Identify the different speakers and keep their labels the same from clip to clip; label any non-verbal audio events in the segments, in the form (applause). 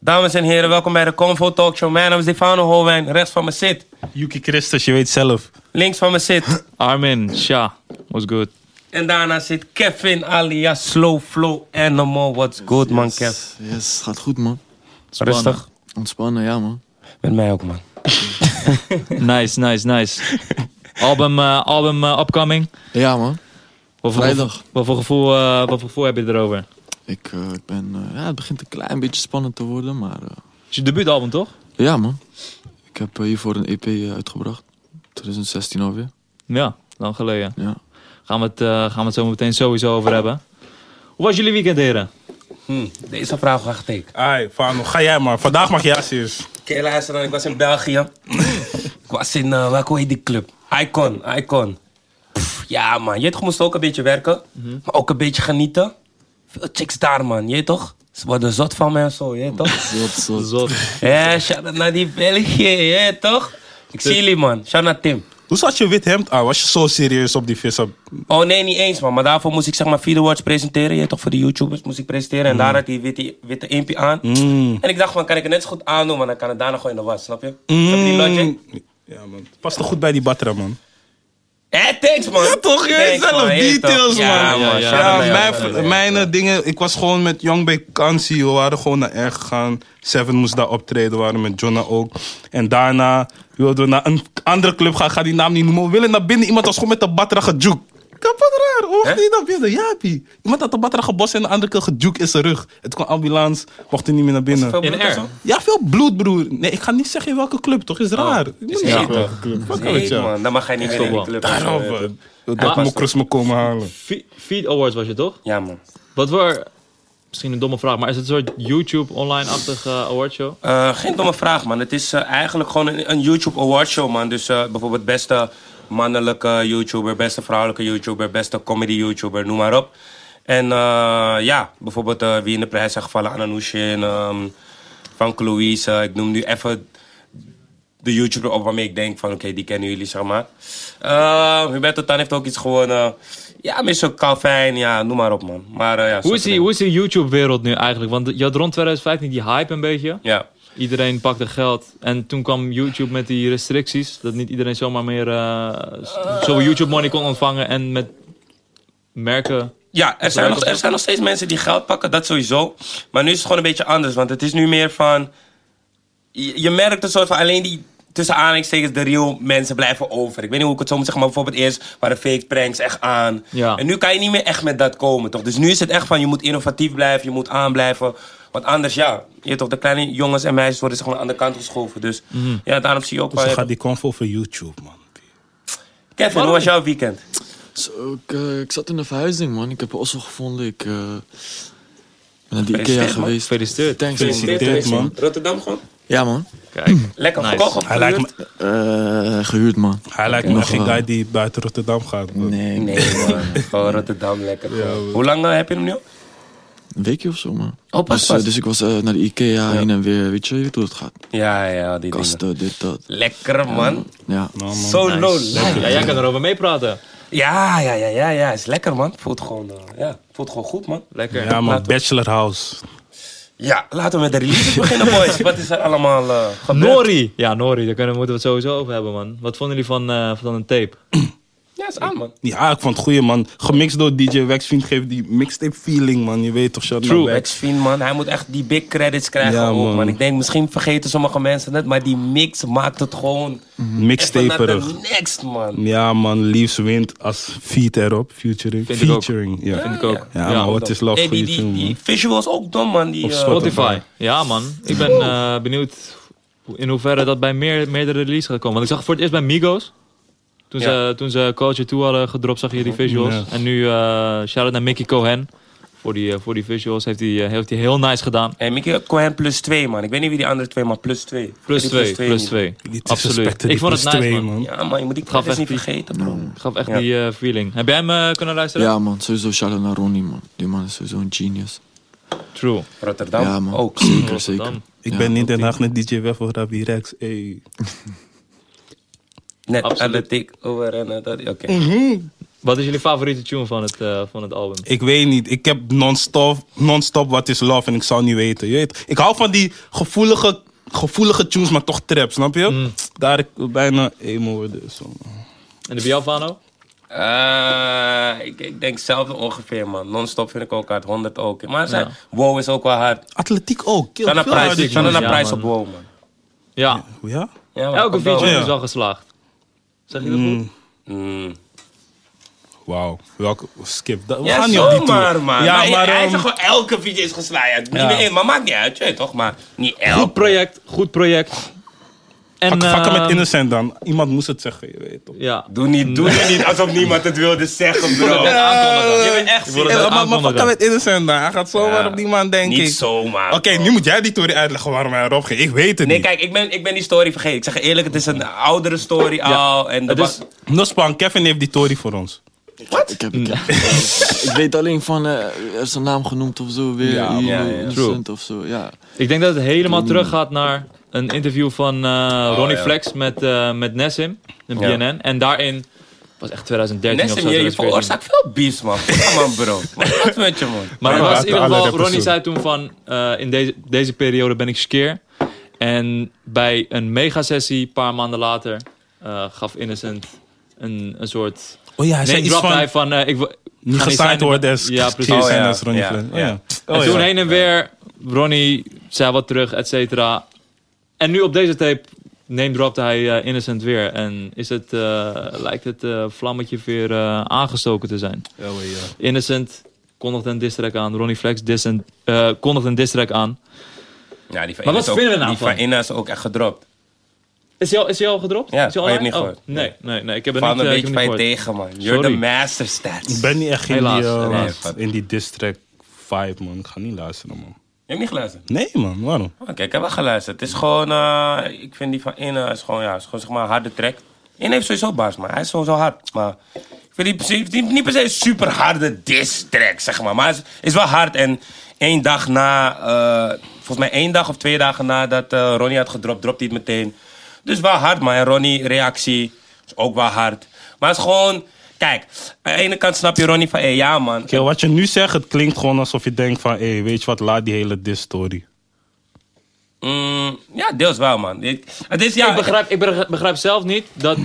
Speaker 1: Dames en heren, welkom bij de Convo Talkshow. Mijn naam is Stefano Holwijn, rechts van me zit.
Speaker 2: Yuki Christus, je weet zelf.
Speaker 1: Links van me zit.
Speaker 2: Armin, Shah, what's good?
Speaker 1: En daarna zit Kevin alias Slow Flow Animal. What's good, man, Kev?
Speaker 3: Yes, yes, gaat goed man.
Speaker 2: Spannen.
Speaker 1: Rustig.
Speaker 3: Ontspannen, ja man.
Speaker 1: Met mij ook, man.
Speaker 2: Nice, nice, nice. Album, eh, album eh, upcoming.
Speaker 3: Ja man.
Speaker 2: Wat voor,
Speaker 3: Vrijdag.
Speaker 2: gevoel- Wat voor, gevoel, eh, wat voor gevoel heb je erover?
Speaker 3: Ik, eh, ik ben, eh, ja, het begint een klein beetje spannend te worden, maar eh,
Speaker 2: Het is je debuutalbum, toch?
Speaker 3: ja man. Ik heb eh, hiervoor een EP uitgebracht. 2016 alweer.
Speaker 2: Ja, lang geleden.
Speaker 3: Ja.
Speaker 2: Gaan we het, eh, gaan we het zo meteen sowieso over hebben. Hoe was jullie weekend, heren?
Speaker 1: Hm, deze vraag wacht ik.
Speaker 4: Ai, Fano, ga jij maar. Vandaag mag jij serieus.
Speaker 1: Oké, luister dan. Ik was in België. ik was in, eh welke heet die club? Icon, Icon. Pff, ja, man. Je weet toch, moest ook een beetje werken. Maar ook een beetje genieten. Veel chicks daar, man. Je weet toch? Ze worden zot van me en zo, je weet toch?
Speaker 3: Zot, zot.
Speaker 2: Zot.
Speaker 1: Ja, shout-out naar die België, je weet toch? Ik zie jullie, man. Shout naar Tim.
Speaker 4: Hoe zat je wit hemd aan? Was je zo serieus op die vissen?
Speaker 1: Oh nee, niet eens man. Maar daarvoor moest ik zeg maar vier awards presenteren. Je weet toch, voor de YouTubers moest ik presenteren. En daar
Speaker 4: Mm.
Speaker 1: had hij witte, witte impie aan. En ik dacht van, kan ik het net zo goed aandoen, want dan kan het daarna gewoon in de was, snap je?
Speaker 4: Mm.
Speaker 1: Snap je die logic?
Speaker 4: Hmm. Ja, man. Past toch goed bij die battera, man?
Speaker 1: Hé, thanks man.
Speaker 4: Ja, toch? Jij
Speaker 1: Thanks,
Speaker 4: zelf.
Speaker 1: man. Je weet
Speaker 4: Details,
Speaker 1: toch?
Speaker 4: man.
Speaker 1: Ja,
Speaker 4: Ja,
Speaker 1: man.
Speaker 2: ja.
Speaker 1: Shout out naar jou,
Speaker 4: mijn,
Speaker 1: man.
Speaker 4: mijn eh, dingen... Ik was gewoon met Young Bay Kansi. We waren gewoon naar erg gegaan. Seven moest daar optreden. We waren met Jonna ook. En daarna wilden we naar een andere club gaan. Ik Ga die naam niet noemen. We willen naar binnen. Iemand was gewoon met de battera gejuke. Kapot raar. Hoe mocht
Speaker 1: Hè?
Speaker 4: die naar binnen? Ja, Pie. Iemand had de battera gebost en de andere keer gejuke in zijn rug. Het kwam ambulance. Mocht hij niet meer naar binnen.
Speaker 1: Veel
Speaker 2: In
Speaker 1: bloed en
Speaker 2: R.
Speaker 1: zo?
Speaker 4: Ja, veel bloed, broer. Nee, ik ga niet zeggen in welke club, toch? Is raar. Ik moet
Speaker 1: Oh. Is
Speaker 4: niet
Speaker 1: heet,
Speaker 4: zeggen.
Speaker 1: toch?
Speaker 4: Fuck
Speaker 1: Is
Speaker 4: met
Speaker 1: heet,
Speaker 4: jou.
Speaker 1: man. Dan mag jij niet meer in die
Speaker 2: wel.
Speaker 1: club.
Speaker 4: Daarom,
Speaker 1: Eh,
Speaker 4: man.
Speaker 1: maar-
Speaker 4: Dus, Dat mokkers me komen halen.
Speaker 2: Fe- Feed Awards was je, toch?
Speaker 1: Ja man.
Speaker 2: Wat voor... Misschien een domme vraag, maar is het een soort YouTube online-achtige eh, awardshow?
Speaker 1: Eh, geen domme vraag, man. Het is eh, eigenlijk gewoon een, een YouTube awardshow, man. Dus eh, bijvoorbeeld beste mannelijke YouTuber, beste vrouwelijke YouTuber, beste comedy YouTuber, noem maar op. En eh, ja, bijvoorbeeld eh, wie in de prijs zijn gevallen, Ananoushin, ehm Frank Louise. eh, ik noem nu even de YouTuber op waarmee ik denk van, oké, die kennen jullie, zeg maar. Eh Huberto Tan heeft ook iets gewonnen. Ja, Mr. Calvin, ja, noem maar op, man. Maar eh, ja,
Speaker 2: Hoe
Speaker 1: zulke
Speaker 2: is, die,
Speaker 1: dingen.
Speaker 2: hoe is die YouTube-wereld nu eigenlijk? Want je had rond 2015 die hype een beetje.
Speaker 1: Ja.
Speaker 2: Iedereen pakte geld. En toen kwam YouTube met die restricties. Dat niet iedereen zomaar meer eh, s- zo YouTube money kon ontvangen. En met merken.
Speaker 1: Ja, er zijn, nog, er zijn nog steeds mensen die geld pakken, dat sowieso. Maar nu is het gewoon een beetje anders, want het is nu meer van... Je, je merkt een soort van alleen die tussen aanhalingstekens de real mensen blijven over. Ik weet niet hoe ik het zo moet zeggen, maar bijvoorbeeld eerst waren fake pranks echt aan.
Speaker 2: Ja.
Speaker 1: En nu kan je niet meer echt met dat komen, toch? Dus nu is het echt van, je moet innovatief blijven, je moet aanblijven. Want anders, ja, je weet toch, de kleine jongens en meisjes worden zeg maar aan de kant geschoven. Dus
Speaker 2: Mhm.
Speaker 1: ja, daarom zie je
Speaker 2: Dus
Speaker 1: ook...
Speaker 2: Oh,
Speaker 1: wel-
Speaker 4: Ze gaat die convo voor YouTube, man.
Speaker 1: Kevin, hoe was jouw weekend?
Speaker 3: Zo, ik, eh, ik zat in de verhuizing man. Ik heb een ossel gevonden. Ik eh, ben naar de Ikea
Speaker 1: Gefeliciteerd, man.
Speaker 3: geweest.
Speaker 2: Gefeliciteerd.
Speaker 3: Thanks man.
Speaker 4: Gefeliciteerd, man.
Speaker 1: Rotterdam gewoon?
Speaker 3: Ja man.
Speaker 2: Kijk.
Speaker 1: Lekker
Speaker 2: Nice.
Speaker 1: verkocht of
Speaker 4: Hij lijkt
Speaker 1: gehuurd?
Speaker 4: me,
Speaker 3: Eh, gehuurd man.
Speaker 4: hij lijkt me
Speaker 3: Nog
Speaker 4: echt een
Speaker 3: wel.
Speaker 4: guy die buiten Rotterdam gaat. man.
Speaker 3: Nee,
Speaker 1: Nee, man. Gewoon Rotterdam, lekker. gewoon. Hoe lang eh, heb je hem nu al?
Speaker 3: een weekje of zo man.
Speaker 1: Oh, pas,
Speaker 3: dus, eh,
Speaker 1: pas.
Speaker 3: dus ik was eh, naar de Ikea heen en weer. Weet je, je weet hoe het gaat.
Speaker 1: Ja, ja, die dingen.
Speaker 3: Kasten, dit, dat.
Speaker 1: Lekker, man.
Speaker 3: Ja.
Speaker 4: Nou, man.
Speaker 1: Zo low life.
Speaker 2: Ja, jij kan erover meepraten.
Speaker 1: Ja, ja, ja, ja, ja. Is lekker, man. Voelt gewoon, eh, ja, voelt gewoon goed, man.
Speaker 2: Lekker.
Speaker 4: Ja, man.
Speaker 1: Laten we-
Speaker 4: Bachelor House.
Speaker 1: Ja, laten we met de releases beginnen,
Speaker 4: (laughs)
Speaker 1: boys. Wat is er allemaal eh gebeurd?
Speaker 2: Nori. Ja, Nori. Daar kunnen, moeten we het sowieso over hebben, man. Wat vonden jullie van, eh, van een tape?
Speaker 1: Ja, is aan, man.
Speaker 4: Ja, ik vond het goeie, man. Gemixt door DJ Waxfiend geeft die mixtape feeling, man. Je weet toch, Shut
Speaker 2: True.
Speaker 4: Wax.
Speaker 1: Max Fiend, man. Hij moet echt die big credits krijgen
Speaker 4: Ja,
Speaker 1: ook, man.
Speaker 4: man.
Speaker 1: Ik denk, misschien vergeten sommige mensen het, maar die mix maakt het gewoon... Echt wel naar
Speaker 4: Mhm. Mixtaperig.
Speaker 1: de next, man.
Speaker 4: Ja, man. Leaves wint als feat erop. Featuring.
Speaker 2: Vind ik ook.
Speaker 4: Featuring. Ja.
Speaker 2: Vind ik ook.
Speaker 4: Ja, maar wat is love
Speaker 1: Hey,
Speaker 4: voor
Speaker 1: die,
Speaker 4: je
Speaker 1: die,
Speaker 4: tune,
Speaker 1: die
Speaker 4: man?
Speaker 1: visuals ook dom, man. Die,
Speaker 4: Op
Speaker 1: eh,
Speaker 4: Spotify.
Speaker 2: Spotify. Ja, man. Ik ben eh, benieuwd hoe- in hoeverre dat bij meer, meerdere releases gaat komen. Want ik zag het voor het eerst bij Migos. Toen,
Speaker 1: Ja.
Speaker 2: ze, toen ze Coach toe hadden gedropt, zag je die visuals.
Speaker 4: Ja.
Speaker 2: En nu eh shout-out naar Mickey Cohen. Voor die, eh, voor die visuals heeft hij eh, heeft hij heel nice gedaan.
Speaker 1: Hey, Mickey Cohen plus 2, man. Ik weet niet wie die andere twee, maar plus 2.
Speaker 2: Plus twee, plus
Speaker 1: twee.
Speaker 2: twee.
Speaker 4: Die disrespecten,
Speaker 2: Absoluut.
Speaker 4: die
Speaker 2: Ik vond het
Speaker 4: plus
Speaker 2: nice,
Speaker 4: twee,
Speaker 2: man.
Speaker 1: Ja, man, je moet die
Speaker 2: Gaf
Speaker 1: credits niet
Speaker 2: echt
Speaker 1: vergeten, bro.
Speaker 4: Mm.
Speaker 2: Het gaf echt
Speaker 1: Ja.
Speaker 2: die eh, feeling. Heb jij hem eh, kunnen luisteren?
Speaker 3: Ja man, sowieso shout-out naar Ronnie man. Die man is sowieso een genius.
Speaker 2: True.
Speaker 1: Rotterdam
Speaker 3: ja man,
Speaker 2: (clears throat)
Speaker 1: ook.
Speaker 3: zeker,
Speaker 2: Rotterdam.
Speaker 3: zeker.
Speaker 4: Ik
Speaker 3: Ja,
Speaker 4: ben niet in Den Haag net DJ Wef of Rabbi Rex. Ey.
Speaker 1: Net aan
Speaker 2: Absoluut.
Speaker 4: Mhm.
Speaker 1: de tik over en eh, dat. Oké.
Speaker 2: Wat is jullie favoriete tune van het, eh, van het album?
Speaker 4: Ik weet niet. Ik heb non-stop, non-stop wat is love en ik zou niet weten. Je weet, ik hou van die gevoelige, gevoelige tunes, maar toch trap, snap je? Daar ik wil bijna emo worden. Zo.
Speaker 2: En de Bialfano?
Speaker 1: Eh, ik, ik denk hetzelfde ongeveer, man. Non-stop vind ik ook hard, 100 ook. Maar zijn, wow is ook wel hard.
Speaker 4: Atletiek ook. Kill,
Speaker 1: Kan een
Speaker 4: veel
Speaker 1: prijs,
Speaker 4: harder.
Speaker 2: Atletiek,
Speaker 1: kan
Speaker 2: man.
Speaker 1: een
Speaker 2: Ja,
Speaker 1: prijs
Speaker 2: man.
Speaker 1: op wow, man.
Speaker 2: Ja,
Speaker 4: Ja?
Speaker 1: Ja, man,
Speaker 2: elke
Speaker 1: komt wel.
Speaker 2: feature
Speaker 4: Ja.
Speaker 2: is wel geslaagd. Zeg je dat goed?
Speaker 1: Mm.
Speaker 4: Wauw. Welke skip. Dat, we
Speaker 1: Ja,
Speaker 4: gaan niet op die tour.
Speaker 1: zomaar, man.
Speaker 4: Ja,
Speaker 1: maar,
Speaker 4: maar,
Speaker 1: hij
Speaker 4: ehm,
Speaker 1: zegt gewoon elke video is geslaagd. Niet
Speaker 4: Ja.
Speaker 1: meer één, maar maakt niet uit, je weet toch? Maar niet elke.
Speaker 2: Goed project, goed project. En,
Speaker 4: vak- vakken met
Speaker 2: ehm,
Speaker 4: Innocent dan. Iemand moest het zeggen, je weet toch.
Speaker 2: Ja.
Speaker 1: Doe niet, doe niet alsof niemand het wilde zeggen, bro.
Speaker 2: Net aankondigen.
Speaker 1: Je bent echt
Speaker 2: Ik word
Speaker 1: serieus.
Speaker 2: het
Speaker 4: Ja, Eh, maar, maar
Speaker 2: aankondigen.
Speaker 4: vakken met Innocent dan. Hij gaat zomaar
Speaker 1: Ja.
Speaker 4: op die man denken.
Speaker 1: Niet zomaar.
Speaker 4: Oké, nu moet jij die tour uitleggen waarom hij erop ging. Ik weet het
Speaker 1: Nee,
Speaker 4: niet.
Speaker 1: kijk, ik ben, ik ben die story vergeten. Ik zeg je eerlijk, het is een oudere story al. En de
Speaker 2: Het is-
Speaker 1: ba-
Speaker 4: Nuspan, Kevin heeft die tory voor ons.
Speaker 3: Ik, heb, ik, heb- (laughs) ik weet alleen van, eh, er is een naam genoemd of zo weer.
Speaker 4: Ja,
Speaker 3: Ja,
Speaker 1: ja, ja.
Speaker 3: Innocent of zo, ja.
Speaker 2: Ik denk dat het helemaal terug gaat naar een interview van eh,
Speaker 4: Oh,
Speaker 2: Ronnie
Speaker 1: ja.
Speaker 2: Flex met, eh met Nessim, een
Speaker 1: Ja.
Speaker 2: BNN. En daarin, was echt 2013 of
Speaker 1: Nessim,
Speaker 2: zo.
Speaker 1: je, je
Speaker 2: 2014.
Speaker 1: veroorzaakt veel beefs,
Speaker 2: (laughs)
Speaker 1: man. Kom man, bro. Wat met je, man?
Speaker 2: Maar
Speaker 4: Ja,
Speaker 2: het was in
Speaker 4: laten
Speaker 2: ieder
Speaker 4: alle
Speaker 2: geval,
Speaker 4: rappers
Speaker 2: Ronnie
Speaker 4: doen.
Speaker 2: zei toen van, eh, in deze, deze periode ben ik skeer. En bij een megasessie, een paar maanden later, eh, gaf Innocent een, een soort...
Speaker 4: Oh ja, hij
Speaker 2: Nee,
Speaker 4: zei iets
Speaker 2: dropte hij
Speaker 4: van...
Speaker 2: van, eh, ik, wil- ik
Speaker 4: Niet
Speaker 2: ga
Speaker 4: gesigned
Speaker 2: signen.
Speaker 4: worden als (laughs)
Speaker 2: Ja, precies.
Speaker 1: Oh,
Speaker 4: en
Speaker 1: ja.
Speaker 4: als Ronnie
Speaker 1: Ja.
Speaker 4: Fleck. Oh,
Speaker 1: Ja.
Speaker 4: ja. Oh,
Speaker 2: en toen
Speaker 4: ja.
Speaker 2: heen en weer, Ronnie zei wat terug, et cetera. En nu op deze tape name dropte hij eh, Innocent weer. En is het, eh, lijkt het eh, vlammetje weer eh, aangestoken te zijn.
Speaker 4: Oh,
Speaker 2: Innocent kondigt een diss track aan. Ronnie Flex diss en, eh, kondigt een diss track aan.
Speaker 1: Ja, die van
Speaker 2: Maar
Speaker 1: Inna
Speaker 2: wat
Speaker 1: is ook-
Speaker 2: vinden we nou
Speaker 1: Die
Speaker 2: van?
Speaker 1: van Inna is ook echt gedropt.
Speaker 2: Is hij al, is hij al gedropt?
Speaker 1: Ja,
Speaker 2: is hij al
Speaker 1: oh, je hebt
Speaker 2: online?
Speaker 1: niet
Speaker 2: Oh,
Speaker 1: gehoord.
Speaker 2: nee, nee, nee. Ik heb het
Speaker 1: Van
Speaker 2: niet,
Speaker 1: een
Speaker 2: eh, ik heb
Speaker 1: beetje
Speaker 2: het
Speaker 1: van
Speaker 2: niet
Speaker 1: je
Speaker 2: gehoord.
Speaker 1: tegen, man. You're
Speaker 2: Sorry.
Speaker 1: the master stats.
Speaker 4: Ik ben niet echt in
Speaker 2: Helaas,
Speaker 4: die, eh,
Speaker 1: helaas.
Speaker 4: in die district vibe, man. Ik ga niet luisteren, man.
Speaker 1: Je hebt niet geluisterd?
Speaker 4: Nee, man. Waarom?
Speaker 1: Oké, ik heb Oh, wel geluisterd. Het is gewoon... eh, ik vind die van Inna is gewoon, ja, is gewoon zeg maar een harde track. Inna heeft sowieso baas, maar hij is sowieso hard. Maar ik vind die, per se- die- niet per se een super harde diss track, zeg maar. Maar het is, is wel hard. En één dag na... eh, volgens mij één dag of twee dagen nadat eh Ronnie had gedropt, dropt hij het meteen. Dus wel hard, maar en Ronnie reactie is ook wel hard. Maar het is gewoon... Kijk, aan de ene kant snap je Ronnie van... Hé, ja man,
Speaker 4: Kijk, wat je nu zegt, het klinkt gewoon alsof je denkt van... Hé, weet je wat? Laat die hele diss-story.
Speaker 1: Mm, ja, deels wel, man. Ik, het is, ja,
Speaker 2: ik, begrijp, ik begrijp- begrijp zelf niet dat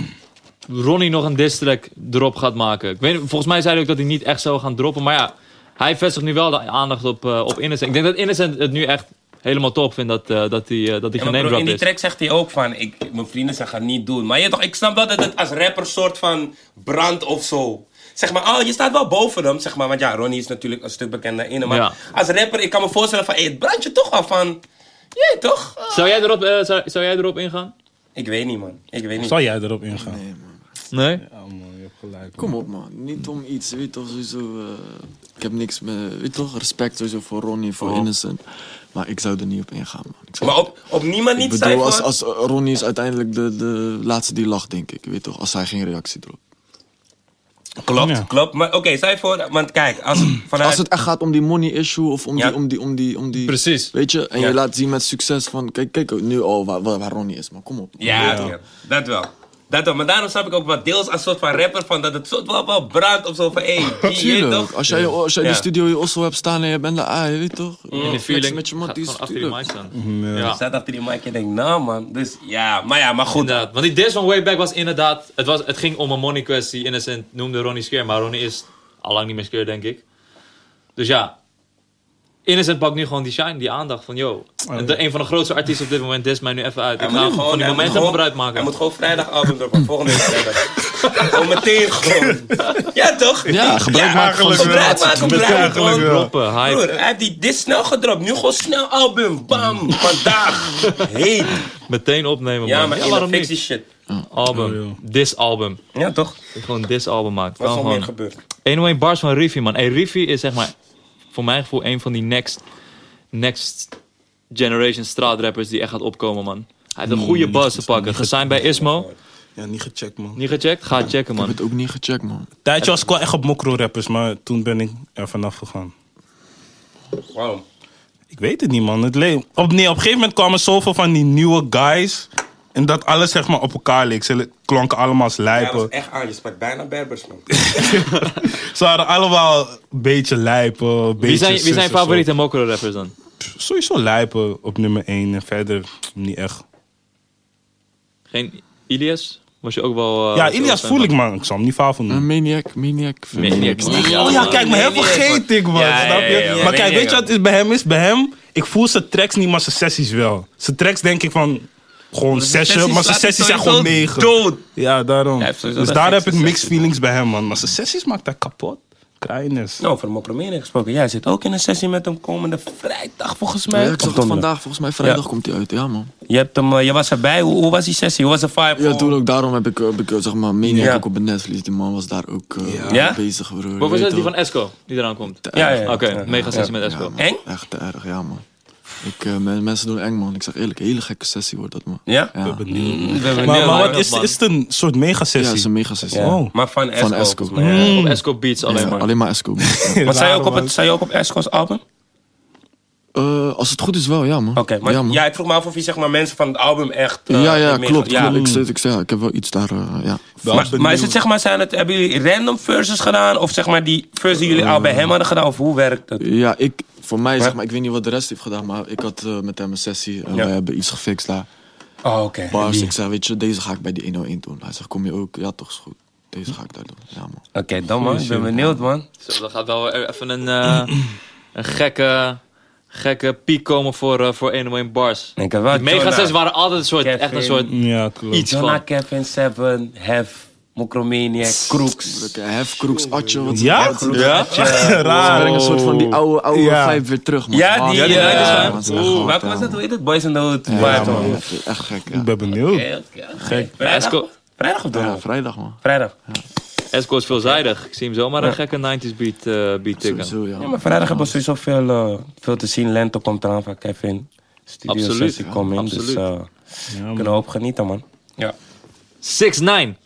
Speaker 2: Ronnie nog een diss track erop gaat maken. Ik weet, niet, volgens mij zei hij ook dat hij niet echt zou gaan droppen. Maar ja, hij vestigt nu wel de aandacht op, eh, op Innocent. Ik denk dat Innocent het nu echt helemaal top vindt dat, eh, dat hij
Speaker 1: Ja,
Speaker 2: eh, dat hij
Speaker 1: maar
Speaker 2: geen name
Speaker 1: bro, in
Speaker 2: drop
Speaker 1: die
Speaker 2: is.
Speaker 1: track zegt hij ook van, ik, mijn vrienden zeggen gaan niet doen. Maar je, toch, ik snap wel dat het als rapper soort van brand of zo. Zeg maar, oh, je staat wel boven hem, zeg maar. Want ja, Ronnie is natuurlijk een stuk bekender in hem. Maar
Speaker 2: Ja.
Speaker 1: als rapper, ik kan me voorstellen van, hey, het brandt je toch af van... Jee, toch? Ah.
Speaker 2: Zou jij, erop, eh, zou, zou jij erop ingaan?
Speaker 1: Ik weet niet, man. Ik weet niet.
Speaker 4: Zal jij erop ingaan?
Speaker 3: Nee, man.
Speaker 2: Nee?
Speaker 4: Ja, man. Je hebt gelijk.
Speaker 3: Kom op, man. Niet om iets, weet toch, sowieso... eh, ik heb niks met, weet toch, respect sowieso voor Ronnie,
Speaker 1: Oh.
Speaker 3: voor Innocent. Maar ik zou er niet op ingaan, man. Ik zou-
Speaker 1: Maar op, op niemand
Speaker 3: Ik
Speaker 1: niet zijn
Speaker 3: bedoel, als,
Speaker 1: voor...
Speaker 3: als Ronnie is uiteindelijk de, de laatste die lacht, denk ik. Weet toch, als hij geen reactie dropt.
Speaker 1: Klopt,
Speaker 4: Ja.
Speaker 1: klopt. Maar oké, zij voor... Want kijk,
Speaker 3: (clears throat)
Speaker 1: als, vanuit...
Speaker 3: Als het echt gaat om die money issue of om,
Speaker 1: Ja.
Speaker 3: die, om, die, om, die, om die...
Speaker 2: Precies.
Speaker 3: Weet je, en
Speaker 1: Ja.
Speaker 3: je laat zien met succes van... Kijk, kijk nu al waar, waar, waar Ronnie is, man. Kom op.
Speaker 1: Ja, ja, dat wel. Dat wel. Maar daarom snap ik ook wat deels als soort van rapper van dat het soort wel, wel brandt of zo van hé, hey, die, je
Speaker 3: Tuurlijk.
Speaker 1: toch?
Speaker 3: Als jij, als jij
Speaker 1: Ja.
Speaker 3: die studio in Oslo hebt staan en je bent daar, ah, je weet toch?
Speaker 2: In de
Speaker 3: Flex
Speaker 2: feeling
Speaker 3: met je
Speaker 2: gaat
Speaker 3: matties,
Speaker 2: gewoon achter die mic
Speaker 3: tuurlijk.
Speaker 2: staan. Ja.
Speaker 1: staat achter die mic en denkt, nou man. Dus ja, maar ja, maar goed.
Speaker 2: Inderdaad, want die diss van Wayback was inderdaad... Het, was, het ging om een money kwestie. Innocent noemde Ronnie skeer, maar Ronnie is al lang niet meer skeer, denk ik. Dus ja, Innocent pakt nu gewoon die shine, die aandacht van... Yo, en de, een van de grootste artiesten op dit moment diss mij nu even uit. Ik
Speaker 1: Hij
Speaker 2: ga
Speaker 1: moet
Speaker 2: gewoon die
Speaker 1: hij moet
Speaker 2: momenten
Speaker 1: gewoon-
Speaker 2: gebruik
Speaker 1: Hij
Speaker 2: maken.
Speaker 1: moet gewoon vrijdag album droppen, (laughs) volgende week vrijdag. Gewoon meteen gewoon. Ja toch?
Speaker 3: Ja, gebruik maken van de
Speaker 1: Gebruik
Speaker 4: eigenlijk wel.
Speaker 3: situatie.
Speaker 1: maken, gebruik
Speaker 4: Eigenlijk
Speaker 1: gewoon.
Speaker 4: wel.
Speaker 2: Kloppen, hype.
Speaker 1: Broer, hij heeft die dit snel gedropt. Nu gewoon snel album. Bam. Vandaag. Heet.
Speaker 2: Meteen opnemen,
Speaker 1: Ja,
Speaker 2: man.
Speaker 1: maar
Speaker 2: Ja,
Speaker 1: in
Speaker 2: waarom
Speaker 1: de fictie
Speaker 2: niet?
Speaker 1: shit.
Speaker 2: Album, diss album.
Speaker 1: Ja, toch?
Speaker 2: Gewoon diss album maken.
Speaker 1: Wat is
Speaker 2: Kan
Speaker 1: er meer
Speaker 2: gewoon.
Speaker 1: gebeurd?
Speaker 2: 101 bars van Riffy, man. Hey, Riffy is zeg maar, voor mijn gevoel, een van die next, next generation straatrappers die echt gaat opkomen, man. Hij
Speaker 4: Hmm,
Speaker 2: heeft een goede buzz te pakken. Gesigned bij Ismo.
Speaker 4: Ja, niet gecheckt, man.
Speaker 2: Niet gecheckt? Ga checken,
Speaker 3: Ik
Speaker 2: man.
Speaker 3: heb het ook niet gecheckt, man.
Speaker 4: Tijdje was ik wel echt op mokro-rappers, maar toen ben ik er vanaf gegaan.
Speaker 1: Waarom?
Speaker 4: Ik weet het niet, man. Het le- op, nee, op een gegeven moment kwamen zoveel van die nieuwe guys. En En dat alles zeg maar op elkaar leek. Ze le- klonken allemaal als
Speaker 1: Hij was
Speaker 4: lijpen.
Speaker 1: echt aan, je sprak bijna Berbers, man.
Speaker 4: Ze waren allemaal een beetje lijpen. een
Speaker 2: Wie
Speaker 4: beetje
Speaker 2: zijn, wie zijn
Speaker 4: zus en zo.
Speaker 2: favoriete Mokro rappers dan?
Speaker 4: Sowieso lijpen op nummer 1 en verder niet echt.
Speaker 1: Oh,
Speaker 2: Geen Ilias? Was je ook wel... eh,
Speaker 4: ja,
Speaker 2: zo
Speaker 4: Ilias
Speaker 2: fan
Speaker 4: voel
Speaker 2: van?
Speaker 4: ik man. Ik zal hem niet faal van
Speaker 3: Eh,
Speaker 4: noemen.
Speaker 3: Maniac, Maniac. vind ik
Speaker 2: Maniac,
Speaker 3: wel.
Speaker 2: Maniac. Ja,
Speaker 4: oh ja,
Speaker 2: man.
Speaker 4: kijk, maar hem
Speaker 1: Nee, nee,
Speaker 4: vergeet ik, man.
Speaker 1: Ja,
Speaker 4: snap je?
Speaker 1: ja, ja, ja.
Speaker 4: maar
Speaker 1: Nee,
Speaker 4: kijk,
Speaker 1: nee,
Speaker 4: weet je
Speaker 1: ja.
Speaker 4: wat is bij hem is? Bij hem, ik voel zijn tracks niet, maar zijn sessies wel. Zijn tracks denk ik van gewoon zesje, maar zijn sessies zijn gewoon negen.
Speaker 1: Dood.
Speaker 4: Ja, daarom.
Speaker 1: Hij heeft sowieso
Speaker 4: dus
Speaker 1: dat
Speaker 4: daar heb
Speaker 1: gekste
Speaker 4: ik mixed
Speaker 1: sessies,
Speaker 4: feelings bij hem, man. Maar zijn sessies maakt hij kapot. Kleines.
Speaker 1: Nou, van Mokromania gesproken. Jij zit ook in een sessie met hem komende vrijdag, volgens mij.
Speaker 3: Ja, ik
Speaker 1: Of
Speaker 3: zag het
Speaker 1: donderdag?
Speaker 3: vandaag, volgens mij vrijdag komt hij uit, ja man.
Speaker 1: Je, hebt hem, eh, je was erbij. Hoe, hoe was die sessie? Hoe was de vibe?
Speaker 3: Ja, toen ook daarom heb ik, heb ik eh, zeg maar, Maniac
Speaker 1: Ja.
Speaker 3: ook op het netvlies. Die man was daar ook eh,
Speaker 1: Ja?
Speaker 3: bezig,
Speaker 2: Wat
Speaker 3: broer.
Speaker 2: was
Speaker 3: Weet
Speaker 2: het, die
Speaker 3: toch?
Speaker 2: van Esco, die eraan komt?
Speaker 1: Ja, ja, ja.
Speaker 2: Oké,
Speaker 1: Ja.
Speaker 2: mega sessie met
Speaker 3: Ja,
Speaker 2: Esco.
Speaker 3: man.
Speaker 1: Eng?
Speaker 3: Echt te erg, ja man. Ik, eh, men- mensen doen eng man, ik zeg eerlijk, een hele gekke sessie wordt dat man.
Speaker 1: Ja?
Speaker 3: Ja,
Speaker 1: Ik ben
Speaker 4: Maar,
Speaker 1: benieuwd,
Speaker 4: maar
Speaker 1: man.
Speaker 4: wat is, is het een soort
Speaker 3: ja het is
Speaker 4: mega-sessie?
Speaker 3: een mega sessie.
Speaker 1: Ja.
Speaker 4: Oh.
Speaker 1: Maar van Esco.
Speaker 3: Van Esco.
Speaker 1: volgens mij, ja.
Speaker 4: Hmm.
Speaker 2: Op Esco Beats alleen maar.
Speaker 3: Alleen maar
Speaker 1: (laughs)
Speaker 3: Esco. man. Ja.
Speaker 1: Maar sta je ook op,
Speaker 4: (laughs) Raar,
Speaker 1: het, sta je ook op Esco's album? Oké,
Speaker 3: Eh, als het goed is wel, ja man.
Speaker 1: maar
Speaker 3: ja,
Speaker 1: ja,
Speaker 3: man.
Speaker 1: ik vroeg me af of je zeg maar, mensen van het album echt... eh,
Speaker 3: ja, ja,
Speaker 1: mee-
Speaker 3: klopt.
Speaker 1: ja.
Speaker 3: klopt. Ik, zit- ik, zeg, ik heb wel iets daar, eh,
Speaker 4: man.
Speaker 3: ja.
Speaker 1: Maar,
Speaker 4: Ben
Speaker 1: maar is
Speaker 4: benieuwd.
Speaker 1: het, zeg maar, zijn het, hebben jullie random verses gedaan? Of zeg maar die verses die jullie al bij hem hadden gedaan? Of hoe werkt het?
Speaker 3: Ja, ik, voor mij, zeg
Speaker 1: Maar-
Speaker 3: maar, ik weet niet wat de rest heeft gedaan, maar ik had eh, met hem een sessie en
Speaker 1: Ja.
Speaker 3: wij hebben iets gefixt daar.
Speaker 1: Oh, oké.
Speaker 3: Bars,
Speaker 1: Die-
Speaker 3: ik zei, weet je, deze ga ik bij die 101 doen. Hij zegt, kom je ook? Ja, toch is goed. Deze ga ik daar doen. Ja, man.
Speaker 1: Oké, dan man. Ik ben benieuwd, man.
Speaker 2: Zo, dat gaat wel weer even een, eh, (clears throat) een gekke, gekke piek komen voor, eh voor 101 Bars.
Speaker 1: Ik heb wel
Speaker 2: Die mega
Speaker 1: Jonah,
Speaker 2: sessie waren altijd een soort, echt een
Speaker 1: Kevin.
Speaker 2: soort
Speaker 4: Ja, klopt.
Speaker 2: iets
Speaker 1: Jonah,
Speaker 2: van.
Speaker 1: Kevin, Seven, Hef, Mokromaniac, Crooks.
Speaker 3: Drukke Hef, Kroeks, Atje. Wat
Speaker 4: Ja?
Speaker 3: Wat-
Speaker 4: Ja?
Speaker 3: Ze
Speaker 4: Raar.
Speaker 3: brengen een soort van die oude, oude
Speaker 4: Oh. Ja.
Speaker 3: vibe weer terug, man.
Speaker 1: Ja, die,
Speaker 3: man,
Speaker 1: ja, die vibe.
Speaker 3: man, ze zijn
Speaker 1: Oeh,
Speaker 3: hard,
Speaker 1: welke
Speaker 3: ja,
Speaker 1: was dat?
Speaker 3: man.
Speaker 1: Hoe heet het? Boys in the Hood.
Speaker 3: Ja,
Speaker 1: vibe,
Speaker 3: man.
Speaker 1: man.
Speaker 3: Echt gek, ja.
Speaker 4: Ik ben benieuwd.
Speaker 1: Oké, oké, oké. Vrijdag,
Speaker 2: Esco-
Speaker 1: vrijdag of
Speaker 3: Ja,
Speaker 1: donderdag?
Speaker 3: vrijdag, man.
Speaker 1: Vrijdag.
Speaker 2: Esco is veelzijdig. Ik zie hem zomaar een gekke 90s beat, eh beat tikken.
Speaker 3: Sowieso, ja.
Speaker 1: Ja,
Speaker 3: man.
Speaker 1: maar vrijdag hebben we sowieso veel, eh, veel te zien. Lento komt eraan van Kevin. Studio
Speaker 2: Absoluut,
Speaker 1: sessie
Speaker 2: ja,
Speaker 1: komt in, dus
Speaker 2: absoluut.
Speaker 1: eh we kunnen hoop genieten, man. Ja.
Speaker 2: 6-9.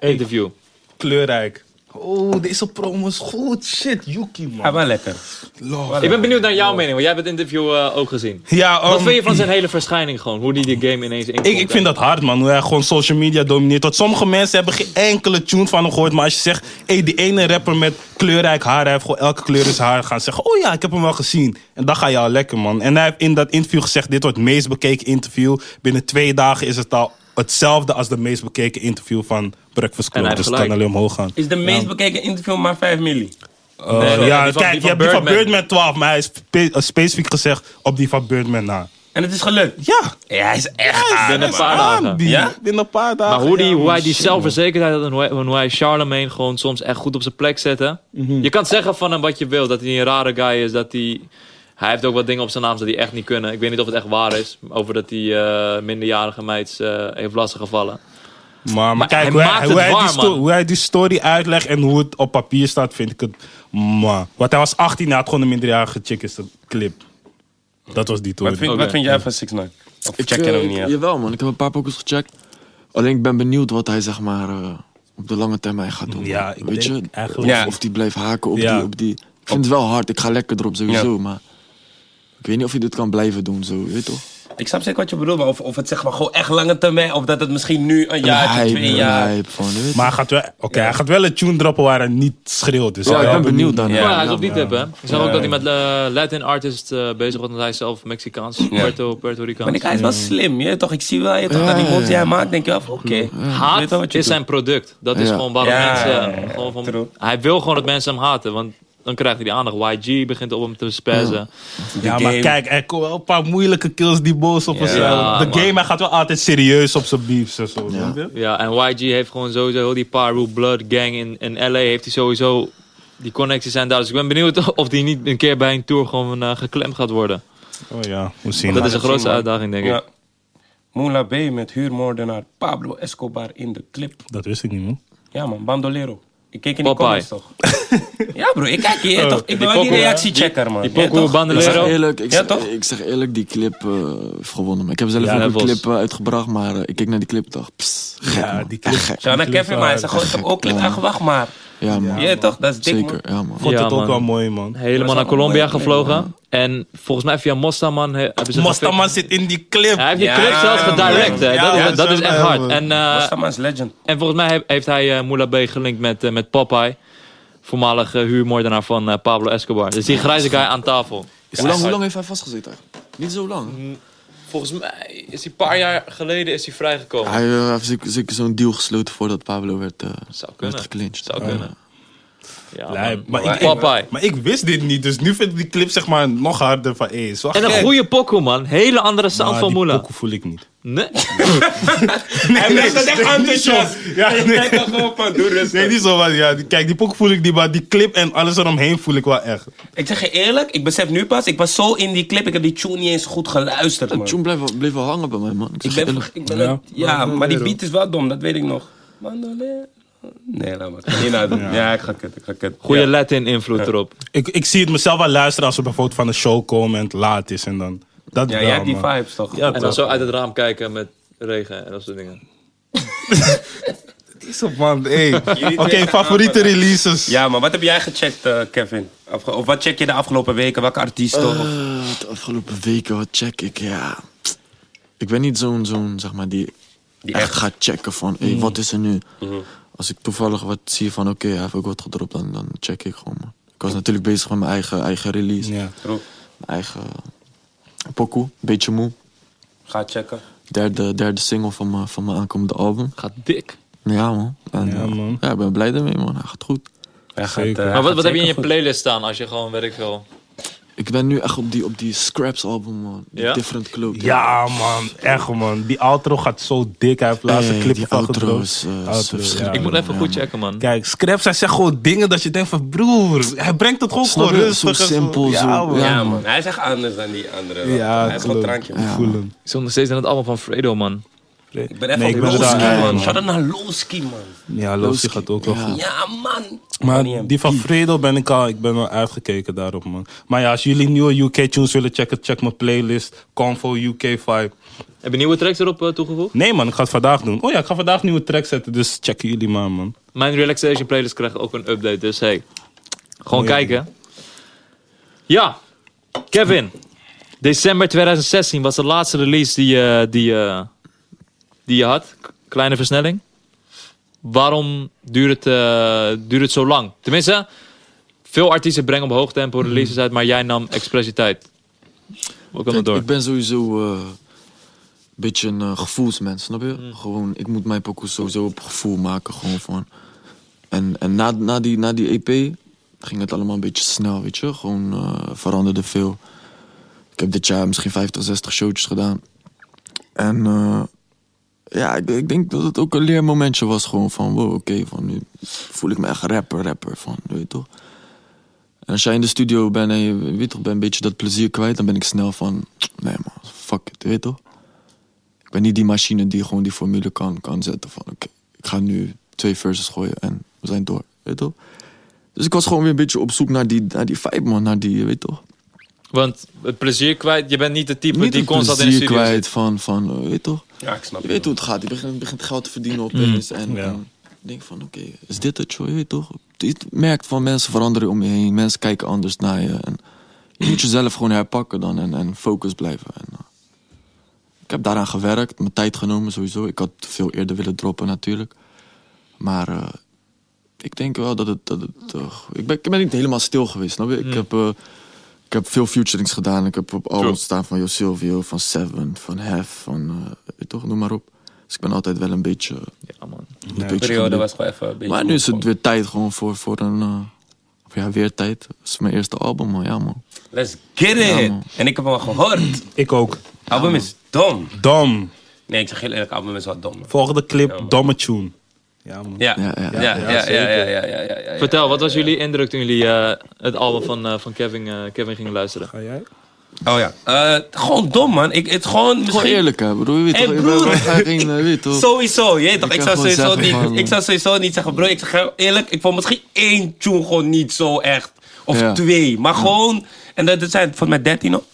Speaker 2: Interview.
Speaker 4: Kleurrijk. Oh, deze promo is goed. Shit, Yuki,
Speaker 1: Ja,
Speaker 4: man.
Speaker 1: wel lekker.
Speaker 4: Love.
Speaker 2: Ik ben benieuwd naar jouw mening, want jij hebt het interview eh, ook gezien.
Speaker 4: Ja,
Speaker 2: Wat
Speaker 4: um,
Speaker 2: vind je van zijn hele verschijning gewoon? Hoe die die game ineens in
Speaker 4: Ik, ik vind dat hard, man. Hoe hij gewoon social media domineert. Want sommige mensen hebben geen enkele tune van hem gehoord. Maar als je zegt, hey, die ene rapper met kleurrijk haar, hij heeft gewoon elke kleur in zijn haar gaan zeggen. Oh ja, ik heb hem wel gezien. En dan ga je al lekker, man. En hij heeft in dat interview gezegd, dit wordt het meest bekeken interview. Binnen twee dagen is het al hetzelfde als de meest bekeken interview van Breakfast
Speaker 2: En
Speaker 4: Club.
Speaker 2: hij
Speaker 4: Dus het
Speaker 2: heeft
Speaker 4: kan alleen omhoog gaan.
Speaker 1: Is de meest bekeken interview maar 5 milli.
Speaker 4: Eh,
Speaker 2: nee,
Speaker 4: ja,
Speaker 2: die van-
Speaker 4: kijk,
Speaker 2: die
Speaker 4: je
Speaker 2: van
Speaker 4: hebt die van
Speaker 2: Birdman.
Speaker 4: Birdman 12, maar hij is spe- eh, specifiek gezegd op die van Birdman na.
Speaker 1: En het is gelukt.
Speaker 4: Ja.
Speaker 1: Ja, hij is echt
Speaker 4: Hij is
Speaker 1: aan.
Speaker 2: Ah, Binnen een paar
Speaker 4: aan,
Speaker 2: dagen.
Speaker 4: die.
Speaker 1: Ja?
Speaker 4: Binnen een paar dagen.
Speaker 2: Maar hoe, die,
Speaker 4: ja,
Speaker 2: hoe
Speaker 4: man.
Speaker 2: hij die zelfverzekerdheid had en hoe hij, en hoe hij Charlemagne gewoon soms echt goed op zijn plek zette.
Speaker 4: Mhm.
Speaker 2: Je kan zeggen van hem wat je wil, dat hij een rare guy is, dat hij... Hij heeft ook wat dingen op zijn naam dat die echt niet kunnen. Ik weet niet of het echt waar is, over dat hij eh, minderjarige meids eh, heeft lastiggevallen.
Speaker 4: Maar, maar kijk,
Speaker 2: hij
Speaker 4: hoe,
Speaker 2: maakt
Speaker 4: hij,
Speaker 2: het
Speaker 4: hoe, hij
Speaker 2: waar,
Speaker 4: die sto-
Speaker 2: man.
Speaker 4: hoe hij die story uitlegt en hoe het op papier staat, vind ik het... Man. Want hij was 18, hij had gewoon een minderjarige chick is dat clip. Dat was die
Speaker 1: Wat
Speaker 4: toren.
Speaker 1: vind,
Speaker 2: Oké.
Speaker 1: wat vind jij van 6 9 Of
Speaker 3: Ik,
Speaker 1: check je
Speaker 3: eh,
Speaker 1: hem
Speaker 3: ik-
Speaker 1: niet echt?
Speaker 3: Jawel, man. Ik heb een paar pokers gecheckt. Alleen ik ben benieuwd wat hij, zeg maar, eh, op de lange termijn gaat doen.
Speaker 4: Ja,
Speaker 3: man.
Speaker 4: ik
Speaker 3: weet
Speaker 4: denk
Speaker 3: je?
Speaker 4: eigenlijk-
Speaker 1: Ja.
Speaker 3: Of, of die blijft haken op,
Speaker 4: Ja.
Speaker 3: die, op die... Ik vind het wel hard. Ik ga lekker erop sowieso, maar... Ik weet niet of je dit kan blijven doen, zo, weet je toch?
Speaker 1: Ik snap zeker wat je bedoelt, maar of, of het zeg maar gewoon echt lange termijn, of dat het misschien nu een jaar,
Speaker 3: hype,
Speaker 1: twee
Speaker 3: een
Speaker 1: jaar.
Speaker 3: hype van, weet je?
Speaker 4: Maar hij gaat, wel, oké, hij gaat wel een tune droppen waar hij niet schreeuwt. Dus
Speaker 3: ja, ik
Speaker 4: wel
Speaker 3: ben benieuwd daarna.
Speaker 2: Ja,
Speaker 1: Ja,
Speaker 2: hij is op die
Speaker 3: man.
Speaker 2: tip, hè. Ik zag ook dat hij met eh, Latin artists eh, bezig was, want hij is zelf Mexicaans, Puerto, Puerto
Speaker 1: Maar
Speaker 2: Ricaans.
Speaker 1: ik, hij is wel slim, je weet toch? Ik zie wel, je weet toch, dat die moves die hij maakt, denk je af, oké.
Speaker 3: Mm,
Speaker 1: Je weet
Speaker 2: Haat
Speaker 1: toch wat je doet.
Speaker 2: is zijn product. Dat is
Speaker 3: Ja.
Speaker 2: gewoon waarom
Speaker 1: Ja,
Speaker 2: mensen...
Speaker 1: ja, ja, ja.
Speaker 2: Gewoon van-
Speaker 1: True.
Speaker 2: hij wil gewoon dat mensen hem haten, want dan krijgt hij die aandacht. YG begint op hem te spazzen.
Speaker 4: Ja,
Speaker 1: Die
Speaker 4: maar
Speaker 1: game.
Speaker 4: kijk, er komen wel een paar moeilijke kills die boos op ons zijn.
Speaker 2: Ja,
Speaker 4: De
Speaker 2: man.
Speaker 4: game, hij gaat wel altijd serieus op zijn beefs en zo. snap je?
Speaker 2: Ja, en YG heeft gewoon sowieso heel die Pyro Blood gang in, in LA heeft hij sowieso die connecties zijn daar. Dus ik ben benieuwd (laughs) of die niet een keer bij een tour gewoon eh, geklemd gaat worden.
Speaker 4: Oh ja, we zien.
Speaker 2: Dat is
Speaker 1: het
Speaker 2: een grootste
Speaker 1: zien, man.
Speaker 2: uitdaging, denk ik.
Speaker 1: Ja. Moula B met huurmoordenaar Pablo Escobar in de clip.
Speaker 4: Dat wist ik niet, man.
Speaker 1: Ja man, Bandolero. Ik keek in die
Speaker 2: Popeye.
Speaker 1: comments toch? (laughs) ja bro, ik kijk hier toch. Ik ben wel die
Speaker 2: pokoe,
Speaker 1: reactiechecker man.
Speaker 2: Die
Speaker 1: Ja,
Speaker 2: Poco
Speaker 1: toch?
Speaker 3: Ik zeg
Speaker 2: Bandolero.
Speaker 3: eerlijk, ik,
Speaker 1: Ja,
Speaker 3: zeg,
Speaker 1: toch?
Speaker 3: ik zeg eerlijk, die clip eh, heeft gewonnen. Maar ik heb zelf
Speaker 2: Ja,
Speaker 3: ook een
Speaker 2: Vos.
Speaker 3: clip eh, uitgebracht, maar eh, ik keek naar die clip en dacht, pss, gek
Speaker 4: Ja,
Speaker 3: man.
Speaker 4: die clip.
Speaker 3: Echt gek.
Speaker 1: Shout out naar Kevin, maar hij zegt gewoon, ik heb ook clip aangewacht, maar
Speaker 3: Ja, man.
Speaker 1: Ja, toch? Dat is dik, man.
Speaker 3: Zeker, ja, man.
Speaker 4: Vond
Speaker 2: Ja,
Speaker 4: het ook
Speaker 2: man.
Speaker 4: wel mooi, man.
Speaker 2: Helemaal naar
Speaker 1: allemaal
Speaker 2: Colombia
Speaker 1: mooi.
Speaker 2: gevlogen. En volgens mij via Mostaman he- hebben ze...
Speaker 4: Mostaman zit in die clip.
Speaker 2: dus Hij heeft die
Speaker 1: Ja,
Speaker 2: clip zelfs
Speaker 1: ja,
Speaker 2: gedirect. hè.
Speaker 4: ja,
Speaker 2: dat,
Speaker 4: ja,
Speaker 2: is, dat
Speaker 4: zo,
Speaker 2: is echt
Speaker 4: ja,
Speaker 2: hard.
Speaker 4: man.
Speaker 2: En, eh,
Speaker 1: Mostaman is
Speaker 2: (laughs)
Speaker 1: legend.
Speaker 2: en volgens mij he- heeft hij eh Moula B gelinkt met, eh, met Popeye. Voormalig eh, huurmoordenaar van eh, Pablo Escobar. Dus die grijze guy aan tafel.
Speaker 3: Hoe lang, hoe lang heeft hij vastgezeten eigenlijk? Niet zo lang.
Speaker 2: Volgens mij is hij een paar jaar geleden is hij vrijgekomen.
Speaker 3: Hij eh, heeft zeker, zeker zo'n deal gesloten voordat Pablo werd, eh
Speaker 2: Zou kunnen.
Speaker 3: werd geclinched.
Speaker 2: Zou
Speaker 3: Ja.
Speaker 2: kunnen. Ja, man.
Speaker 4: Lijp. Maar ik,
Speaker 2: Popeye.
Speaker 4: ik, maar ik wist dit niet, dus nu vind ik die clip zeg maar nog harder van hey, is wel
Speaker 2: En een
Speaker 4: gek.
Speaker 2: goede pokoe, man. Hele andere
Speaker 4: Maar
Speaker 2: sound van
Speaker 4: die
Speaker 2: Moula.
Speaker 4: pokoe voel ik niet.
Speaker 2: Nee?
Speaker 4: Hij
Speaker 1: blijft dat echt enthousiast.
Speaker 4: Ja, nee.
Speaker 1: dan gewoon van, doe
Speaker 4: Nee, niet zo wat. Ja, die- kijk, die pokoe voel ik niet, maar die clip en alles eromheen voel ik wel echt.
Speaker 1: Ik zeg je eerlijk, ik besef nu pas, ik was zo in die clip, ik heb die tune niet eens goed geluisterd,
Speaker 3: De tune
Speaker 1: man.
Speaker 3: bleef, wel- bleef wel hangen bij mij, man. Ik
Speaker 1: Ik
Speaker 3: zeg
Speaker 1: ben,
Speaker 3: eerlijk.
Speaker 1: ik ben ja, ja, maar die beat is wel dom, dat weet ik nog. Mandolin. Nee, laat maar. Nee, nou, ja. ik ga kut, ik ga kut.
Speaker 2: Goede
Speaker 1: Ja.
Speaker 2: Latin-invloed erop.
Speaker 4: Ik, ik zie het mezelf wel luisteren als we bijvoorbeeld van een show komen en het laat is en dan. Dat
Speaker 1: Ja,
Speaker 4: wel,
Speaker 1: jij hebt die
Speaker 4: man.
Speaker 1: vibes toch?
Speaker 4: Ja,
Speaker 2: En dan zo uit het raam kijken met regen en dat soort dingen.
Speaker 4: Is op, man. Hey. Oké,
Speaker 1: tegen
Speaker 4: favoriete releases.
Speaker 1: Ja, maar wat heb jij gecheckt, eh, Kevin? Of, of wat check je de afgelopen weken? Welke artiesten? of-
Speaker 3: Eh, de afgelopen weken, wat check ik, ja. Ik ben niet zo'n, zo'n zeg maar, die,
Speaker 1: Die
Speaker 3: echt
Speaker 1: echt-
Speaker 3: gaat checken van, hé, wat
Speaker 4: Mm.
Speaker 3: is er nu?
Speaker 4: Mm-hmm.
Speaker 3: Als ik toevallig wat zie van, oké, hij heeft ook wat gedropt, dan, dan check ik gewoon, man. Ik was natuurlijk bezig met mijn eigen, eigen release,
Speaker 4: Ja.
Speaker 1: Roep,
Speaker 3: mijn eigen pokoe, beetje moe.
Speaker 1: ga checken.
Speaker 3: Derde, derde single van mijn, van mijn aankomende album.
Speaker 2: Gaat dik.
Speaker 3: Ja, man. En,
Speaker 4: Ja,
Speaker 3: eh,
Speaker 4: man.
Speaker 3: Ja, ik ben blij daarmee, man. Hij gaat goed.
Speaker 1: Hij gaat,
Speaker 4: Zeker.
Speaker 1: eh, hij
Speaker 2: Maar wat,
Speaker 1: gaat
Speaker 2: wat heb je in je
Speaker 1: zeker
Speaker 2: playlist staan als je gewoon, weet ik veel...
Speaker 3: Ik ben nu echt op die, op die Scraps album, man. Die
Speaker 2: Ja?
Speaker 3: Different Cloak.
Speaker 4: Ja, man. Echt, man. Die outro gaat zo dik. Hij heeft laatste
Speaker 3: Hey,
Speaker 4: clip
Speaker 3: Eh, die
Speaker 4: van
Speaker 3: outro
Speaker 4: gedropt.
Speaker 3: is, eh, is
Speaker 4: Outro,
Speaker 3: verschrikkelijk.
Speaker 2: Ik moet
Speaker 3: Ja,
Speaker 2: even goed checken, man.
Speaker 4: Kijk, Scraps, hij zegt gewoon dingen dat je denkt van... Broer, hij brengt het gewoon
Speaker 3: Snap
Speaker 4: gewoon
Speaker 3: je?
Speaker 4: rustig.
Speaker 3: Zo
Speaker 4: en
Speaker 3: simpel, zo-
Speaker 4: Ja, man.
Speaker 1: goed.
Speaker 4: Ja,
Speaker 1: Ja, man. Hij is echt anders dan die andere.
Speaker 4: ja
Speaker 1: hij is gewoon
Speaker 4: klopt.
Speaker 1: drankje.
Speaker 4: Ik voel hem.
Speaker 2: Ik zit nog steeds in het album van Fredo, man.
Speaker 1: Ik ben echt
Speaker 4: Nee,
Speaker 1: op
Speaker 4: ik ben er
Speaker 1: Lowski,
Speaker 4: daar-
Speaker 1: man.
Speaker 4: ja,
Speaker 1: Shout out naar Lowski, man.
Speaker 4: Ja, Lossie gaat ook wel
Speaker 3: Ja.
Speaker 4: goed.
Speaker 1: Ja, man.
Speaker 4: Maar die van Fredo ben ik al... Ik ben wel uitgekeken daarop, man. Maar ja, als jullie nieuwe UK-tunes willen checken... Check mijn playlist. Convo UK Vibe.
Speaker 2: Heb je nieuwe tracks erop eh, toegevoegd?
Speaker 4: Nee, man. Ik ga het vandaag doen. Oh ja, ik ga vandaag nieuwe track zetten. Dus checken jullie maar, man.
Speaker 2: Mijn relaxation playlist krijgt ook een update, dus hey. Gewoon kijken. Ja, Kevin. December 2016 was de laatste release die, je- die, je- die je had. K- Kleine versnelling. Waarom duurt het, eh, duurt het zo lang? Tenminste, veel artiesten brengen op hoog tempo releases uit, maar jij nam expres je tijd. Hoe kan dat
Speaker 3: Kijk,
Speaker 2: door?
Speaker 3: Ik ben sowieso eh, een beetje een eh, gevoelsmens, snap je? Gewoon, ik moet mijn pokoe sowieso op gevoel maken, gewoon van. En, en na, na, die, na die EP ging het allemaal een beetje snel, weet je? Gewoon eh, veranderde veel. Ik heb dit jaar misschien 50, 60 showtjes gedaan. En eh, ja, ik, ik denk dat het ook een leermomentje was, gewoon van wow, oké, van nu voel ik me echt rapper, rapper, van, weet je toch? En als jij in de studio bent en je weet toch, ben een beetje dat plezier kwijt, dan ben ik snel van, nee man, fuck it, weet je toch? Ik ben niet die machine die gewoon die formule kan, kan zetten van, oké, ik ga nu twee verses gooien en we zijn door, weet je toch? Dus ik was gewoon weer een beetje op zoek naar die, naar die vibe, man, naar die, weet je toch?
Speaker 2: Want het plezier kwijt, je bent niet de type
Speaker 3: Niet
Speaker 2: die
Speaker 3: die
Speaker 2: constant in de
Speaker 3: plezier
Speaker 2: studio zit.
Speaker 3: kwijt van, van, eh, weet je toch?
Speaker 1: Ja, ik snap
Speaker 3: Je
Speaker 1: het.
Speaker 3: weet hoe het gaat, je begint, begint geld te verdienen
Speaker 2: Mm.
Speaker 3: opeens en...
Speaker 4: Ja.
Speaker 3: en ik denk van, oké, is dit het, joh? Je weet toch? Je merkt van mensen veranderen om je heen, mensen kijken anders naar je en... Je moet jezelf gewoon herpakken dan en, en focus blijven. En, eh, ik heb daaraan gewerkt, mijn tijd genomen sowieso. Ik had veel eerder willen droppen natuurlijk. Maar eh, ik denk wel dat het... Dat het eh, ik, ben, ik ben niet helemaal stil geweest, snap je? Ik, heb, eh, ik heb veel featurings gedaan. Ik heb op albums staan van Yo Silvio, van Seven, van Hef, van... eh, weet je toch, noem maar op. Dus ik ben altijd wel een beetje...
Speaker 2: Ja, man.
Speaker 3: een
Speaker 1: De
Speaker 3: beetje
Speaker 1: periode
Speaker 3: gemoeid.
Speaker 1: was gewoon even een beetje...
Speaker 3: Maar nu is het weer tijd gewoon voor, voor een... eh, of ja, weer tijd. Dat is mijn eerste album, man. Ja, man.
Speaker 1: Let's get it!
Speaker 3: man.
Speaker 1: en ik heb hem al gehoord.
Speaker 4: Ik ook.
Speaker 1: album is dom.
Speaker 4: Dom.
Speaker 1: Nee, ik zeg heel eerlijk, album is wel dom. man.
Speaker 4: Volgende clip,
Speaker 1: Ja, man.
Speaker 4: domme tune. Ja, man.
Speaker 1: Ja, ja,
Speaker 3: Ja,
Speaker 1: ja,
Speaker 3: ja,
Speaker 1: ja, ja, ja, ja, ja, ja, ja.
Speaker 2: Vertel, wat was jullie indruk toen jullie eh, het album van, eh, van Kevin, eh, Kevin gingen luisteren?
Speaker 4: Ga jij?
Speaker 1: Oh ja. Eh, gewoon dom, man. Ik, het gewoon...
Speaker 3: Gewoon
Speaker 1: Misschien...
Speaker 3: eerlijk, hè, broer. Je weet
Speaker 1: Hey,
Speaker 3: toch, ik
Speaker 1: broer.
Speaker 3: ben- ik
Speaker 1: (laughs)
Speaker 3: ga geen, eh, weet toch.
Speaker 1: Sowieso, je weet toch?
Speaker 3: Ik
Speaker 1: Ik
Speaker 3: kan
Speaker 1: zou
Speaker 3: gewoon
Speaker 1: sowieso,
Speaker 3: zeggen
Speaker 1: niet,
Speaker 3: van-
Speaker 1: ik zou sowieso niet zeggen, bro. Ik zeg heel eerlijk, ik vond misschien één tune gewoon niet zo echt. Of
Speaker 3: Ja.
Speaker 1: twee. Maar gewoon... En dat, dat zijn volgens mij dertien op.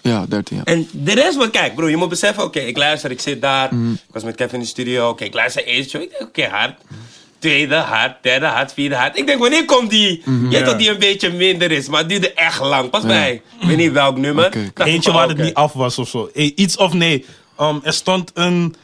Speaker 3: Ja, 13 jaar.
Speaker 1: En de rest, maar kijk, bro, je moet
Speaker 4: Mm.
Speaker 1: beseffen, oké, ik luister, ik zit daar. Ik was met Kevin in de studio, oké, ik luister eerst, joh, ik denk, oké, hard. tweede hart, derde hart, vierde hart. Ik denk, wanneer komt die? Je weet
Speaker 4: Mhm. Ja.
Speaker 1: dat die een beetje minder is, maar het duurde echt lang. Pas bij. Ik weet niet welk nummer.
Speaker 3: Oké.
Speaker 1: Dacht ik
Speaker 4: Eentje
Speaker 1: van,
Speaker 4: waar het
Speaker 1: oh, oké.
Speaker 4: niet af was of zo. Eh, Iets of nee. Ehm, er stond een.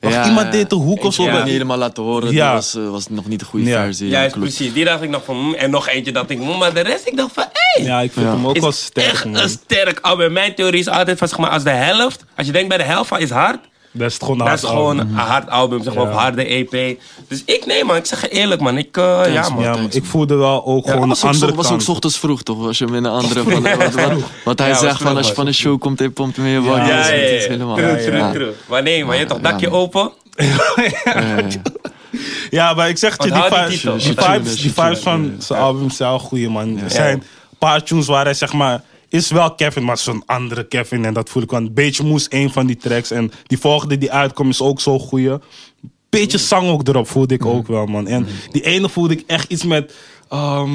Speaker 4: Wacht,
Speaker 3: Ja,
Speaker 4: iemand
Speaker 3: ja.
Speaker 4: deed de hoek of zo.
Speaker 1: Ja.
Speaker 3: Ik heb het niet
Speaker 4: bij-
Speaker 3: helemaal laten horen.
Speaker 4: Ja.
Speaker 3: Die was, eh, was nog niet de goede
Speaker 4: Ja.
Speaker 3: versie. ja,
Speaker 1: Juist,
Speaker 3: klopt.
Speaker 1: precies. Die dacht ik nog van, mm, en nog eentje dat ik, mm, maar de rest, ik dacht van, hé.
Speaker 4: Ja, ik vind
Speaker 3: Ja.
Speaker 4: hem ook
Speaker 1: is
Speaker 4: wel sterk.
Speaker 1: echt
Speaker 4: man.
Speaker 1: een sterk album. Mijn theorie is altijd van, zeg maar, als de helft, als je denkt bij de helft van is hard,
Speaker 4: Dat is gewoon
Speaker 1: dat is gewoon een hard album, zeg maar,
Speaker 4: Ja.
Speaker 1: of harde EP. Dus ik, nee man, ik zeg je eerlijk man, ik, eh, ja man.
Speaker 4: Ja,
Speaker 3: Thanks,
Speaker 4: maar
Speaker 3: man.
Speaker 4: ik voelde wel ook
Speaker 3: Ja,
Speaker 4: gewoon
Speaker 3: was
Speaker 4: een
Speaker 3: ook, zo-
Speaker 4: andere
Speaker 3: was ook
Speaker 4: kant.
Speaker 3: 's ochtends vroeg toch? Als je met een andere. Van, wat, wat, wat hij
Speaker 1: Ja, was
Speaker 3: zegt van
Speaker 1: vroeg,
Speaker 3: als je
Speaker 1: was
Speaker 3: van een show komt, hij pompt meer je wakker.
Speaker 4: Ja,
Speaker 3: Dus
Speaker 1: Ja, ja,
Speaker 3: het
Speaker 1: ja.
Speaker 3: is helemaal.
Speaker 1: True,
Speaker 3: ja,
Speaker 1: true,
Speaker 3: ja.
Speaker 1: true. Maar nee, maar je hebt toch
Speaker 3: Ja,
Speaker 1: dakje
Speaker 3: man.
Speaker 1: open?
Speaker 3: Ja, ja, ja.
Speaker 4: Ja, maar ik zeg je, die,
Speaker 1: Onthoud die
Speaker 4: vibes,
Speaker 1: titel.
Speaker 4: die,
Speaker 3: Shitune,
Speaker 4: vibes, die
Speaker 3: Shitune.
Speaker 4: vibes van zijn album zijn wel goeie, man. Er zijn
Speaker 1: Ja.
Speaker 4: een paar tunes waar hij zeg maar... Is wel Kevin, maar zo'n andere Kevin. En dat voel ik wel. Een beetje moes één van die tracks. En die volgende die uitkomt is ook zo'n goeie. Beetje
Speaker 1: Mm.
Speaker 4: zang ook erop voelde ik ook wel, man. En die ene voelde ik echt iets met... ehm,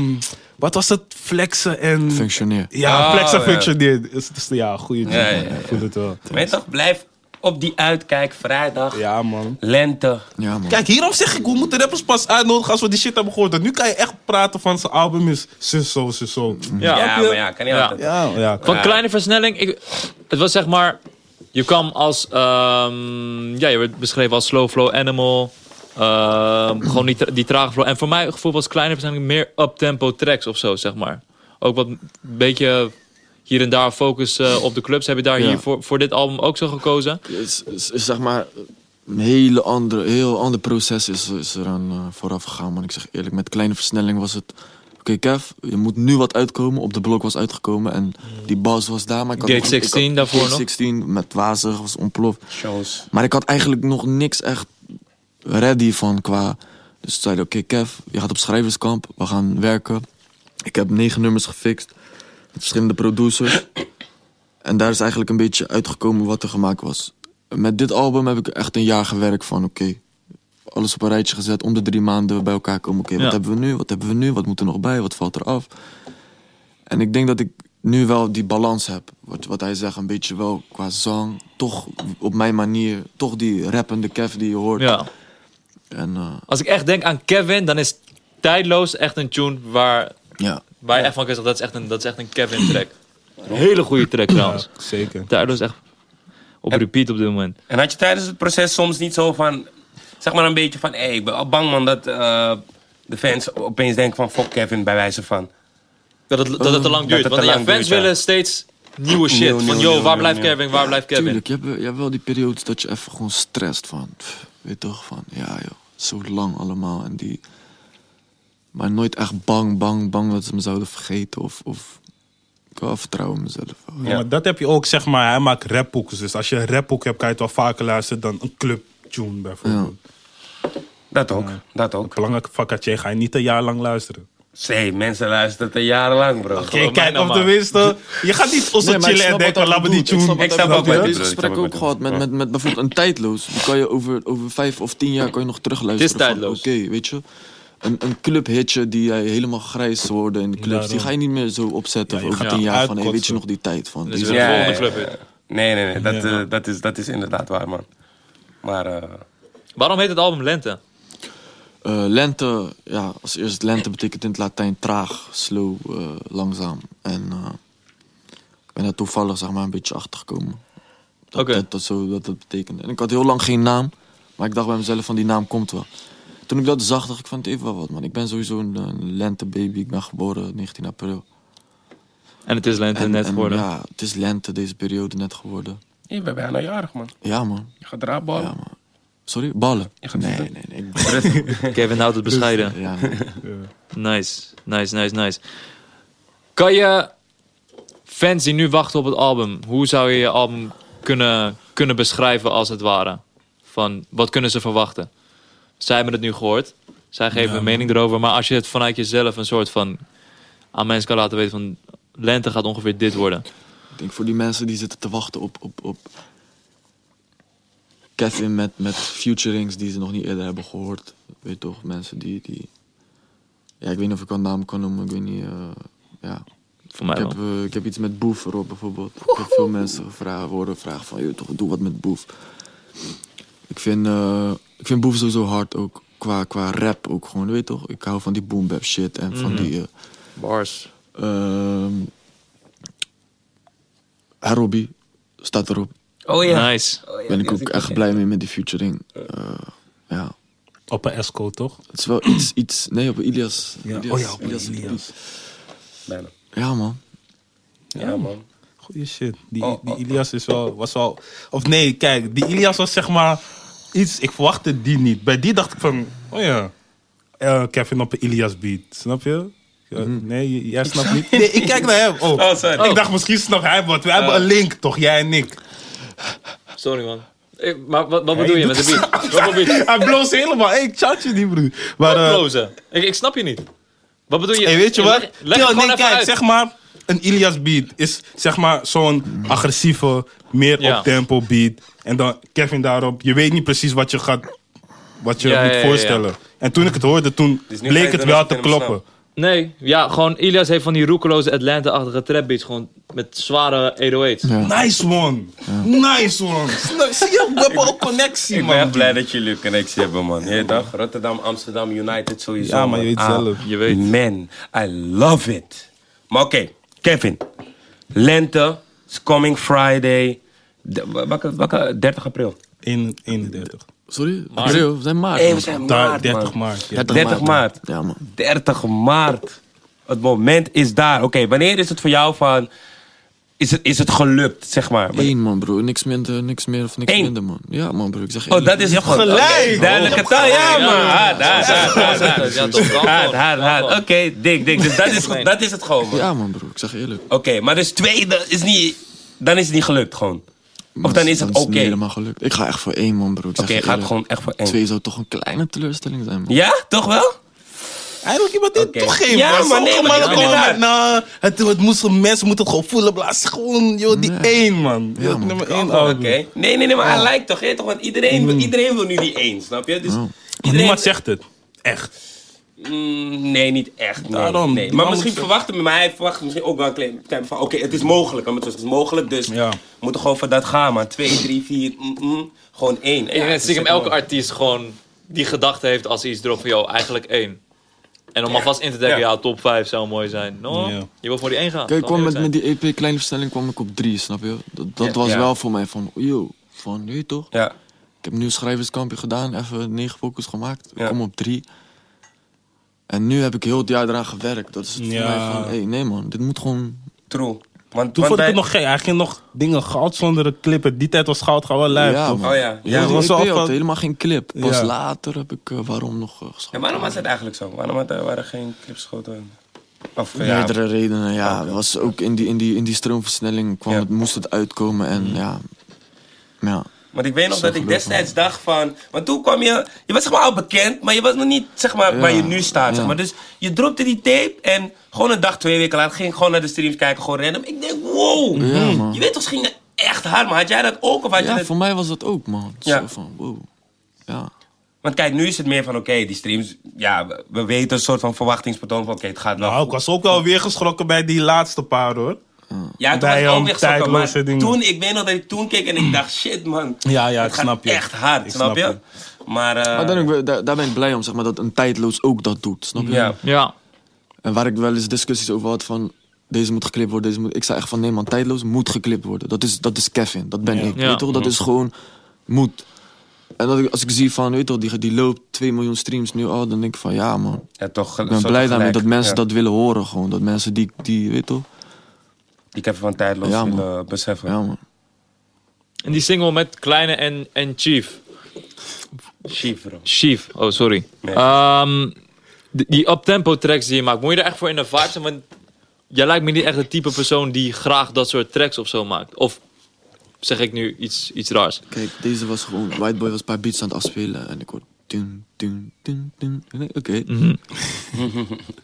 Speaker 4: wat was het? Flexen en...
Speaker 3: Functioneer.
Speaker 4: Ja,
Speaker 1: Oh,
Speaker 4: flexen
Speaker 1: ja.
Speaker 4: functioneert. Dus, dus ja, goede tune.
Speaker 1: Ja, ja,
Speaker 4: man.
Speaker 1: ja,
Speaker 4: Ik voel het wel.
Speaker 1: Maar je toch, blijf op die uitkijk, vrijdag,
Speaker 4: Ja, man.
Speaker 1: lente.
Speaker 3: Ja, man.
Speaker 4: Kijk, hierom zeg ik, we moeten rappers pas uitnodigen als we die shit hebben gehoord. Want nu kan je echt praten van zijn album is zus zo, zus zo.
Speaker 1: Ja,
Speaker 2: Ja.
Speaker 1: maar ja, kan niet
Speaker 2: Ja.
Speaker 1: altijd.
Speaker 4: Ja, ja.
Speaker 2: Van
Speaker 1: Ja.
Speaker 2: kleine versnelling, ik, het was zeg maar, je kwam als, ehm, ja, je werd beschreven als slow flow animal, ehm, gewoon die, tra- die trage flow. En voor mij het gevoel was kleine versnelling meer up-tempo tracks of zo, zeg maar. Ook wat een beetje hier en daar focus eh, op de clubs. Heb je daar
Speaker 3: Ja.
Speaker 2: hier voor, voor dit album ook zo gekozen?
Speaker 3: is, is- is zeg maar een hele andere, heel ander proces is, is eraan eh, vooraf gegaan. Man, ik zeg eerlijk, met kleine versnelling was het. Oké, Kev, je moet nu wat uitkomen. Op de blok was uitgekomen en die bas was daar. Maar ik had
Speaker 2: Gate
Speaker 3: nog- ik had-
Speaker 2: 16 daarvoor
Speaker 3: Gate
Speaker 2: nog?
Speaker 3: 16 met wazig was ontploft.
Speaker 1: Shows.
Speaker 3: Maar ik had eigenlijk nog niks echt ready van qua. Dus toen zeiden: Oké, Kev, je gaat op schrijverskamp, we gaan werken. Ik heb negen nummers gefixt met verschillende producers. En daar is eigenlijk een beetje uitgekomen wat er gemaakt was. Met dit album heb ik echt een jaar gewerkt van: Oké, alles op een rijtje gezet, om de drie maanden bij elkaar komen. Oké,
Speaker 2: Ja.
Speaker 3: wat hebben we nu? Wat hebben we nu? Wat moet er nog bij? Wat valt er af? En ik denk dat ik nu wel die balans heb. Wat, wat hij zegt, een beetje wel qua zang. Toch op mijn manier. Toch die rappende Kev die je hoort.
Speaker 2: Ja.
Speaker 3: En eh,
Speaker 2: Als ik echt denk aan Kevin, dan is Tijdloos echt een tune waar,
Speaker 3: ja.
Speaker 2: waar je echt van kan zeggen, dat is echt een, dat is echt een Kevin track. Een hele goede track trouwens.
Speaker 4: Zeker.
Speaker 2: Tijdloos echt op repeat op dit moment.
Speaker 1: En had je tijdens het proces soms niet zo van, zeg maar een beetje van, hé, ik ben al bang man dat eh, de fans opeens denken van, fuck Kevin, bij wijze van.
Speaker 2: Dat het, dat het te lang
Speaker 1: dat
Speaker 2: duurt.
Speaker 1: het
Speaker 2: Want
Speaker 1: te
Speaker 2: ja,
Speaker 1: lang
Speaker 2: fans
Speaker 1: duurt, ja.
Speaker 2: willen steeds nieuwe shit.
Speaker 1: Nieuw,
Speaker 2: van
Speaker 1: nieuw,
Speaker 2: yo,
Speaker 1: nieuw,
Speaker 2: waar
Speaker 1: nieuw,
Speaker 2: blijft
Speaker 1: nieuw.
Speaker 2: Kevin? Waar blijft Kevin?
Speaker 3: Tuurlijk, je hebt, je hebt wel die periodes dat je even gewoon stresst van... pff, weet toch, van ja joh, zo lang allemaal. En die, maar nooit echt bang, bang, bang dat ze me zouden vergeten. Of, of ik wil wel vertrouwen in mezelf.
Speaker 4: Ja, maar dat heb je ook, zeg maar, hij maakt rapboeken. Dus als je een rapboek hebt, kan je het wel vaker luisteren dan een clubtune bijvoorbeeld.
Speaker 1: Dat ook, dat ook.
Speaker 4: Belangrijk vakatje ga je niet een jaar lang luisteren.
Speaker 1: Zee, mensen luisteren het jarenlang bro.
Speaker 4: Kijk, kijk,
Speaker 2: mij
Speaker 4: of
Speaker 2: nou maar.
Speaker 4: tenminste, je gaat niet zo
Speaker 3: Nee, maar ik
Speaker 4: chillen en
Speaker 3: snap
Speaker 4: denken,
Speaker 3: wat
Speaker 4: laat
Speaker 3: hij
Speaker 4: me die
Speaker 3: bedoelt.
Speaker 4: tune.
Speaker 3: Ik
Speaker 1: Ik snap
Speaker 3: snap wat hij
Speaker 1: ook
Speaker 3: bedoelt.
Speaker 1: wat
Speaker 3: Ik
Speaker 1: hij
Speaker 3: heb
Speaker 1: bedoelt. Ik snap
Speaker 3: dit gesprek
Speaker 1: ook
Speaker 3: ook
Speaker 1: wat hij
Speaker 3: gehad met,
Speaker 1: bedoelt.
Speaker 3: met, met bijvoorbeeld een tijdloos. Die kan je over, over vijf of tien jaar kan je nog terug luisteren.
Speaker 2: Het is tijdloos.
Speaker 3: van, Oké, weet je. Een, een clubhitje die jij helemaal grijs worden in de clubs. die
Speaker 4: Daarom.
Speaker 3: ga je niet meer zo opzetten
Speaker 4: Ja, je
Speaker 3: voor over
Speaker 4: gaat
Speaker 3: tien
Speaker 4: hem
Speaker 3: jaar. Van, hey, weet
Speaker 4: uitkotsen.
Speaker 3: je nog die tijd? Van,
Speaker 2: Dus
Speaker 3: die-
Speaker 2: weer
Speaker 1: Ja,
Speaker 2: de volgende
Speaker 1: ja,
Speaker 2: club
Speaker 1: ja.
Speaker 2: in.
Speaker 1: Nee, nee, nee, dat,
Speaker 4: Ja.
Speaker 1: eh, dat, is, dat is inderdaad waar, man. Maar, eh,
Speaker 2: Waarom heet het album Lente?
Speaker 3: Eh, lente, ja, als eerst lente betekent in het Latijn traag, slow, eh, langzaam. En eh, ik ben daar toevallig zeg maar, een beetje achter gekomen. Dat,
Speaker 2: Oké.
Speaker 3: dat, dat zo dat dat betekende. En ik had heel lang geen naam, maar ik dacht bij mezelf van die naam komt wel. Toen ik dat zag, dacht ik van het heeft wel wat man. Ik ben sowieso een, een lentebaby, ik ben geboren 19 april.
Speaker 2: En het is Lente net geworden.
Speaker 3: ja, het is lente deze periode net geworden.
Speaker 1: je bent bijna jarig, man.
Speaker 3: Ja man,
Speaker 1: Je gaat eraan ballen.
Speaker 3: ja man. Sorry, ballen?
Speaker 1: gaat
Speaker 3: Nee, nee,
Speaker 1: zitten.
Speaker 3: nee. ik-
Speaker 2: Kevin houdt het
Speaker 1: Dus,
Speaker 2: bescheiden.
Speaker 1: eh,
Speaker 3: Ja, nee.
Speaker 2: Nice, nice, nice, nice. Kan je fans die nu wachten op het album, hoe zou je je album kunnen, kunnen beschrijven als het ware? Van wat kunnen ze verwachten? Zij hebben het nu gehoord, zij geven hun mening erover, maar als je het vanuit jezelf een soort van aan mensen kan laten weten van lente gaat ongeveer dit worden.
Speaker 3: Ik denk voor die mensen die zitten te wachten op, op, op Kevin met, met featurings die ze nog niet eerder hebben gehoord. Weet je toch, mensen die, die... Ja, ik weet niet of ik een naam kan noemen, ik weet niet... eh, ja.
Speaker 2: Voor mij
Speaker 3: ik,
Speaker 2: wel.
Speaker 3: heb, eh, ik heb iets met Boef erop bijvoorbeeld. Ik heb veel mensen gevraagd, horen vragen van, joh, toch, doe wat met Boef. Ik vind, eh, ik vind Boef sowieso hard ook. qua, qua rap ook gewoon. Weet je toch? Ik hou van die boom bap shit en van die... eh,
Speaker 2: Bars.
Speaker 3: ehm Harobi staat erop.
Speaker 5: Oh ja.
Speaker 2: Nice.
Speaker 5: Oh, ja,
Speaker 3: ben
Speaker 5: die
Speaker 3: ik
Speaker 5: heb
Speaker 3: ook echt
Speaker 5: gezien.
Speaker 3: blij mee met die featuring. Eh, ja.
Speaker 4: Op een Esco, toch?
Speaker 3: Het is wel iets, iets... Nee, op Ilias.
Speaker 4: Ja,
Speaker 3: Ilias,
Speaker 4: oh ja, op een
Speaker 3: Ilias.
Speaker 4: Ilias.
Speaker 1: Bijna.
Speaker 3: Ja, man.
Speaker 1: Ja, man.
Speaker 4: Goeie shit. Die,
Speaker 1: Oh,
Speaker 4: die
Speaker 1: oh,
Speaker 4: Ilias is wel, was wel... Of nee, kijk. Die Ilias was zeg maar iets... Ik verwachtte die niet. Bij die dacht ik van... Oh ja. eh, Kevin op een Ilias beat. Snap je? Ja,
Speaker 1: Mhm.
Speaker 4: Nee, j- jij snapt niet. Nee, ik kijk naar hem. Oh,
Speaker 1: Oh, sorry.
Speaker 4: Ik dacht, misschien snapt hij wat. We hebben een link, toch? Jij en ik.
Speaker 2: Sorry, man. Ik- maar wat, wat bedoel je met de beat? Wat voor beat?
Speaker 4: (laughs) Hij bloos helemaal. Hey, ik chat je niet, broer. Maar, eh,
Speaker 2: Blozen. Ik, ik snap je niet. Wat bedoel je? Eh,
Speaker 4: Hey, weet je wat?
Speaker 2: Leg, leg
Speaker 4: Kill,
Speaker 2: het gewoon
Speaker 4: nee,
Speaker 2: even
Speaker 4: kijk,
Speaker 2: uit.
Speaker 4: zeg maar. Een Ilias beat is zeg maar zo'n agressieve, meer
Speaker 2: Ja.
Speaker 4: op tempo beat. En dan Kevin daarop. Je weet niet precies wat je gaat. Wat je
Speaker 2: Ja,
Speaker 4: moet
Speaker 2: ja, ja, ja.
Speaker 4: voorstellen. En toen ik het hoorde, toen
Speaker 1: Dus nu ga je
Speaker 4: bleek het
Speaker 1: doen
Speaker 4: wel
Speaker 1: alsof
Speaker 4: te
Speaker 1: je het helemaal
Speaker 4: kloppen.
Speaker 2: Nee, ja, gewoon Ilias heeft van die roekeloze Atlanta-achtige trapbeats. Gewoon met zware 808's.
Speaker 3: Ja.
Speaker 4: Nice one. Nice
Speaker 2: (laughs)
Speaker 4: one. Snap- Zie je, we hebben ook connectie,
Speaker 1: Ik ben echt
Speaker 4: man.
Speaker 1: blij dat jullie een connectie hebben, man. Je dag Rotterdam, Amsterdam, United sowieso.
Speaker 4: Ja, maar je weet
Speaker 1: Ah,
Speaker 4: zelf.
Speaker 2: Je weet.
Speaker 1: Man, I love it. Maar oké, Kevin. Lente, is coming Friday. De- Welke, welke? 30 april.
Speaker 4: 31.
Speaker 3: Sorry? April, we zijn maart.
Speaker 1: Hey,
Speaker 3: man.
Speaker 1: Eh, we zijn
Speaker 4: Daar,
Speaker 1: maart,
Speaker 4: 30
Speaker 1: man.
Speaker 4: maart. ja.
Speaker 3: 30
Speaker 1: 30 maart.
Speaker 3: Ja, man.
Speaker 1: 30 maart. Het moment is daar. Oké, wanneer is het voor jou van... Is het, is het gelukt, zeg maar?
Speaker 3: Eén, man, bro. Niks minder, niks meer of niks
Speaker 1: Eén.
Speaker 3: minder, man. Ja, man, bro. Ik zeg
Speaker 1: Oh, dat is
Speaker 4: Je
Speaker 1: het
Speaker 4: hebt gelijk.
Speaker 1: Oké, Duidelijke taal, ja man. Ah, Hard, hard, hard, hard, hard.
Speaker 2: Ja, toch? Kan
Speaker 1: Hard,
Speaker 2: gewoon.
Speaker 1: hard, hard. Oké, dik, dik. Dus dat
Speaker 2: (laughs)
Speaker 1: is,
Speaker 2: Nee.
Speaker 1: dat is het gewoon, man.
Speaker 3: Ja, man, bro. Ik zeg eerlijk.
Speaker 1: Oké, maar dus tweede is niet... Dan is het niet gelukt, gewoon. Of dan is het oké.
Speaker 3: niet helemaal gelukt. Ik ga echt voor één, man, bro. Ik zeg
Speaker 1: Oké,
Speaker 3: je
Speaker 1: gaat
Speaker 3: eerlijk.
Speaker 1: gewoon echt voor één.
Speaker 3: Twee zou toch een kleine teleurstelling zijn, man.
Speaker 1: Ja, toch wel?
Speaker 4: Eigenlijk iemand die
Speaker 1: Oké.
Speaker 4: het toegeeft.
Speaker 1: Ja,
Speaker 4: Ja,
Speaker 1: maar
Speaker 4: maar
Speaker 1: nee, maar
Speaker 4: mannen
Speaker 1: ja,
Speaker 4: komen
Speaker 1: inderdaad.
Speaker 4: met, nou, het, het moest, mensen moeten het gewoon voelen. Blaas gewoon, joh, die
Speaker 3: Nee.
Speaker 4: één, man. Ja,
Speaker 3: man.
Speaker 4: nummer één
Speaker 2: Oh,
Speaker 1: Oké.
Speaker 4: album.
Speaker 1: Nee, nee, nee, maar hij lijkt toch, hè? toch? Want iedereen, iedereen wil nu die één, snap je? Dus
Speaker 4: Maar
Speaker 1: iedereen...
Speaker 4: Mm. Oh. niemand zegt het. Echt.
Speaker 1: Mm, nee, niet echt. Nee,
Speaker 4: Daarom.
Speaker 1: nee. Maar
Speaker 4: Waarom
Speaker 1: misschien
Speaker 4: moet je-
Speaker 1: verwachten we, maar hij verwacht misschien ook wel een klein klein van... Oké, het is mogelijk, want het is mogelijk, dus
Speaker 4: Ja.
Speaker 1: we moeten gewoon voor dat gaan, man. Twee, drie, vier, mm, mm, gewoon één.
Speaker 2: Ik denk dat stiekem
Speaker 1: dat is
Speaker 2: elke
Speaker 1: mooi.
Speaker 2: artiest gewoon die gedachte heeft als hij iets erop van, joh, eigenlijk één. En om alvast in te dekken,
Speaker 1: Ja.
Speaker 2: ja, top 5 zou mooi zijn. No,
Speaker 4: Ja.
Speaker 2: je wil voor die één gaan.
Speaker 3: Kijk, ik
Speaker 2: Kan
Speaker 3: kwam met,
Speaker 2: eerlijk
Speaker 3: met die EP Kleine Verstelling kwam ik op drie, snap je? Dat, dat
Speaker 1: Ja.
Speaker 3: was
Speaker 1: Ja.
Speaker 3: wel voor mij van, yo, van nu toch?
Speaker 1: Ja,
Speaker 3: Ik heb nu schrijverskampje gedaan, even negen focus gemaakt. Ik
Speaker 1: Ja.
Speaker 3: kom op drie. En nu heb ik heel het jaar eraan gewerkt. Dat is het voor
Speaker 4: Ja.
Speaker 3: mij van, hey, nee man, dit moet gewoon...
Speaker 1: true. Want,
Speaker 4: Toen
Speaker 1: want
Speaker 4: vond ik
Speaker 1: bij-
Speaker 4: het nog gek. Hij ging nog dingen goud zonder een clipper. Die tijd was goud gewoon wel lijf,
Speaker 3: ja,
Speaker 4: toch?
Speaker 3: man.
Speaker 1: Oh ja, ja.
Speaker 3: ja,
Speaker 4: Was wel
Speaker 3: EP had
Speaker 4: E van-
Speaker 3: helemaal geen clip. Pas
Speaker 4: Ja.
Speaker 3: later heb ik eh, Waarom nog eh,
Speaker 1: En
Speaker 3: geschreven.
Speaker 1: waarom was het eigenlijk zo? Waarom had, waren er geen clips geschoten? Of, ja,
Speaker 3: Meerdere redenen, ja.
Speaker 1: Oké.
Speaker 3: was ook in die, in die, in die stroomversnelling kwam
Speaker 1: Ja. Mm.
Speaker 3: het, moest het uitkomen en ja. ja.
Speaker 1: Want ik weet nog
Speaker 3: Zo
Speaker 1: dat ik
Speaker 3: gelukkig,
Speaker 1: destijds dacht van... Want toen kwam je... Je was zeg maar al bekend, maar je was nog niet zeg maar
Speaker 3: Ja,
Speaker 1: waar je nu staat. Zeg
Speaker 3: ja.
Speaker 1: maar. Dus je dropte die tape en gewoon een dag, twee weken later... ging ik gewoon naar de streams kijken, gewoon random. Ik denk, wow! Hmm.
Speaker 3: Ja, man.
Speaker 1: Je weet toch, ze gingen echt hard. Maar had jij dat ook? Of had je
Speaker 3: Ja,
Speaker 1: dat...
Speaker 3: voor mij was dat ook, man.
Speaker 1: Ja.
Speaker 3: Zo van, wow. Ja.
Speaker 1: Want kijk, nu is het meer van, oké, die streams... Ja, we, we weten een soort van verwachtingspatroon van... Oké, het gaat wel
Speaker 4: Nou, ik
Speaker 1: goed.
Speaker 4: was ook wel weer geschrokken bij die laatste paar, hoor.
Speaker 1: Ja, toen
Speaker 4: bij
Speaker 1: was ik ook
Speaker 4: een
Speaker 1: weer geschrokken, maar
Speaker 4: tijdloze dingen.
Speaker 1: toen... Ik weet nog dat ik toen keek en ik dacht, shit man.
Speaker 4: Ja, ja,
Speaker 1: het
Speaker 4: ik
Speaker 1: gaat
Speaker 4: snap je.
Speaker 1: echt hard,
Speaker 4: Ik
Speaker 1: snap
Speaker 4: snap
Speaker 1: je?
Speaker 4: je.
Speaker 1: Maar... eh,
Speaker 3: Maar dan ook, weer- daar, daar ben ik blij om, zeg maar, dat een tijdloos ook dat doet. Snap je?
Speaker 1: ja.
Speaker 2: zijn. Ja,
Speaker 3: En waar ik wel eens discussies over had van... Deze moet geklipt worden, deze moet... Ik zei echt van, nee man, tijdloos moet geklipt worden. Dat is, dat is Kevin, dat ben ik. Weet
Speaker 2: Ja.
Speaker 3: je toch? Dat is gewoon... Moet. En dat ik, als ik zie van, weet je toch, die, die loopt 2 miljoen streams nu al... Dan denk ik van, ja man,
Speaker 1: Ja, toch,
Speaker 3: ik ben blij daarmee dat mensen dat willen horen gewoon. Dat mensen die, die weet je toch?
Speaker 1: Ik heb van tijdloos
Speaker 3: Ja, man.
Speaker 1: willen beseffen.
Speaker 3: Ja man.
Speaker 2: en die single met Kleine en, en Chief.
Speaker 1: Chief, bro.
Speaker 2: Chief, oh sorry.
Speaker 1: Nee.
Speaker 2: Ehm, die, die uptempo tracks die je maakt, moet je er echt voor in de vibe zijn? Want jij lijkt me niet echt het type persoon die graag dat soort tracks of zo maakt. Of zeg ik nu iets, iets raars?
Speaker 3: Kijk, deze was gewoon... Whiteboy was een paar beats aan het afspelen en ik hoor... dun, dun, dun, dun. En ik, Oké. (laughs)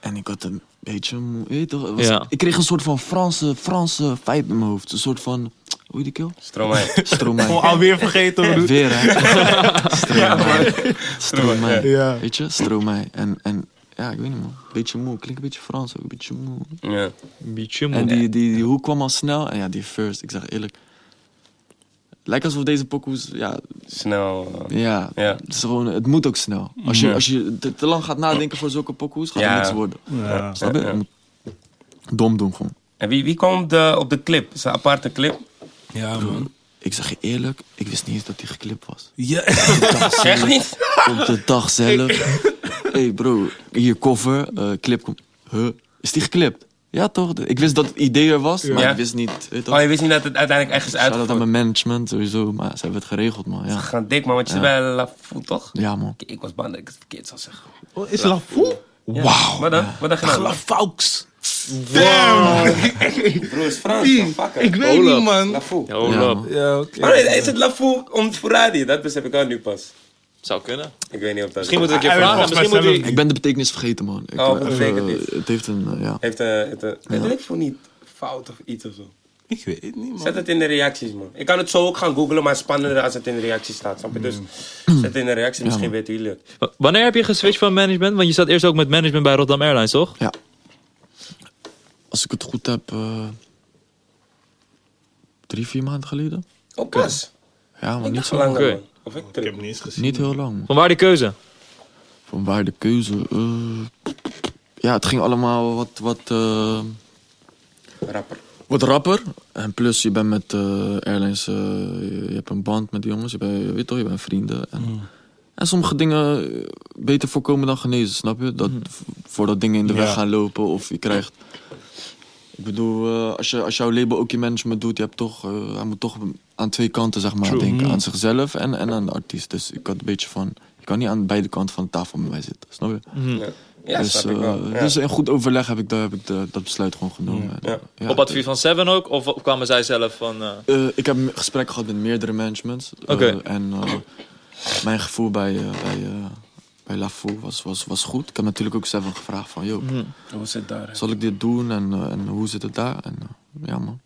Speaker 3: en ik had een beetje... moe- Weet je toch, het was-
Speaker 2: Ja.
Speaker 3: Ik kreeg een soort van Franse, Franse vibe in mijn hoofd. Een soort van... Hoe heet die kill? (laughs)
Speaker 1: Stromae.
Speaker 4: Gewoon
Speaker 3: Stromae.
Speaker 4: alweer vergeten, broer.
Speaker 3: Weer hè. Stromae. Stromae.
Speaker 4: Ja.
Speaker 3: Weet je? Stromae. En, en ja, ik weet niet man. Beetje moe. Klinkt een beetje Frans ook. Een beetje moe.
Speaker 1: ja.
Speaker 2: Beetje
Speaker 3: En die, die, die hoek kwam al snel. En ja, die first. Ik zeg eerlijk. lijkt alsof deze pokoes, ja,
Speaker 1: Snel. eh,
Speaker 3: ja,
Speaker 1: Ja. Mm.
Speaker 3: Het, is gewoon, het moet ook snel. Als je, als je te, te lang gaat nadenken voor zulke pokoes, gaat
Speaker 1: Ja.
Speaker 3: het niks worden.
Speaker 4: Ja.
Speaker 3: Snap je?
Speaker 1: Ja.
Speaker 3: Je moet dom doen gewoon.
Speaker 1: En wie, wie komt eh, op de clip? Is een aparte clip?
Speaker 4: Ja, man.
Speaker 3: Ik zeg je eerlijk, ik wist niet eens dat die geklipt
Speaker 1: (laughs)
Speaker 3: was.
Speaker 4: Ja. (laughs)
Speaker 1: Zeg niet.
Speaker 3: Op de dag zelf.
Speaker 1: (laughs)
Speaker 3: hey bro, hier koffer, eh, clip komt. Huh? Is die geklipt? Ja toch? Ik wist dat het idee er was, maar
Speaker 1: Ja.
Speaker 3: ik wist niet. Weet toch?
Speaker 1: Oh, je wist niet dat het uiteindelijk echt is
Speaker 3: Shout out aan
Speaker 1: uitgevoerd.
Speaker 3: mijn management sowieso, maar ze hebben het geregeld man. Ja,
Speaker 1: Gaan dik, man, want je zit bij La Fou, toch?
Speaker 3: ja man.
Speaker 1: Ik was bang dat ik het verkeerd zou zeggen.
Speaker 4: Oh, is Lafou?
Speaker 3: Oh,
Speaker 4: Wauw.
Speaker 1: Wat dan? Wat dan gedaan?
Speaker 4: Lafaux. Damn.
Speaker 1: Broer, is Frans.
Speaker 4: Pie.
Speaker 1: man, fuck it.
Speaker 4: Ik weet
Speaker 2: Olaf.
Speaker 4: niet, man.
Speaker 1: La Fou.
Speaker 2: Yo,
Speaker 3: Ja,
Speaker 2: love.
Speaker 3: man.
Speaker 4: Ja, oké.
Speaker 1: Maar nee, is het La Fou om Furadi? Dat besef ik al nu pas.
Speaker 2: Zou kunnen.
Speaker 1: Ik weet niet of dat...
Speaker 2: Misschien moeten we een
Speaker 4: Hij
Speaker 2: keer
Speaker 4: wil
Speaker 2: vragen.
Speaker 4: volgens mij
Speaker 2: Misschien moet
Speaker 4: zelf-
Speaker 2: hij...
Speaker 3: Ik ben de betekenis vergeten man. Ik,
Speaker 1: Oh,
Speaker 3: eh,
Speaker 1: betekent
Speaker 3: eh,
Speaker 1: niet.
Speaker 3: het heeft een, eh, ja.
Speaker 1: Heeft eh, het eh, het lijkt voor niet fout of iets of zo.
Speaker 4: Ik weet het niet, man.
Speaker 1: Zet het in de reacties, man. Ik kan het zo ook gaan googlen, maar spannender als het in de reacties staat. Snap je? Dus
Speaker 3: Mm.
Speaker 1: zet het in de reacties, misschien weten jullie het.
Speaker 2: W- Wanneer heb je geswitcht van management? Want je zat eerst ook met management bij Rotterdam Airlines, toch?
Speaker 3: Ja. Als ik het goed heb, eh, drie, vier maanden geleden.
Speaker 1: Oh, pas.
Speaker 3: Ja, maar
Speaker 1: Ik
Speaker 3: niet
Speaker 1: dacht
Speaker 3: zo
Speaker 1: langer,
Speaker 2: Oké.
Speaker 1: man. Of ik
Speaker 4: Ik
Speaker 1: terug.
Speaker 4: heb niet eens gezien.
Speaker 3: Niet heel lang.
Speaker 2: Van waar die keuze?
Speaker 3: Van waar de keuze? eh, ja, het ging allemaal wat, wat, eh,
Speaker 1: Rapper.
Speaker 3: wat rapper. En plus, je bent met eh, airlines, eh, je, je hebt een band met die jongens. Je bent, je weet toch, je bent vrienden. En, en sommige dingen eh, beter voorkomen dan genezen, snap je? Dat, Voordat dingen in de
Speaker 4: Ja.
Speaker 3: weg gaan lopen of je krijgt... Ik bedoel, eh, als, je, als jouw label ook je management doet, je hebt toch, eh, hij moet toch aan twee kanten zeg maar, denken. Aan zichzelf en, en aan de artiest. Dus ik had een beetje van, je kan niet aan beide kanten van de tafel met mij zitten, snap je?
Speaker 1: Ja, ja
Speaker 3: dus,
Speaker 1: snap ik wel.
Speaker 3: eh,
Speaker 1: Ja.
Speaker 3: dus in goed overleg heb ik, daar heb ik de- dat besluit gewoon genomen. En,
Speaker 1: Ja.
Speaker 3: ja,
Speaker 2: Op advies van Seven ook? Of kwamen zij zelf van... eh,
Speaker 3: eh, ik heb een gesprek gehad met meerdere managements. eh,
Speaker 2: Oké.
Speaker 3: en eh, (clears throat) mijn gevoel bij, eh, bij, eh, bij LaFou was, was, was goed. Ik heb natuurlijk ook Seven gevraagd van... Yo,
Speaker 2: Mhm.
Speaker 1: Hoe zit daar?
Speaker 3: zal ik dit doen en, eh, en hoe zit het daar? En eh, ja man,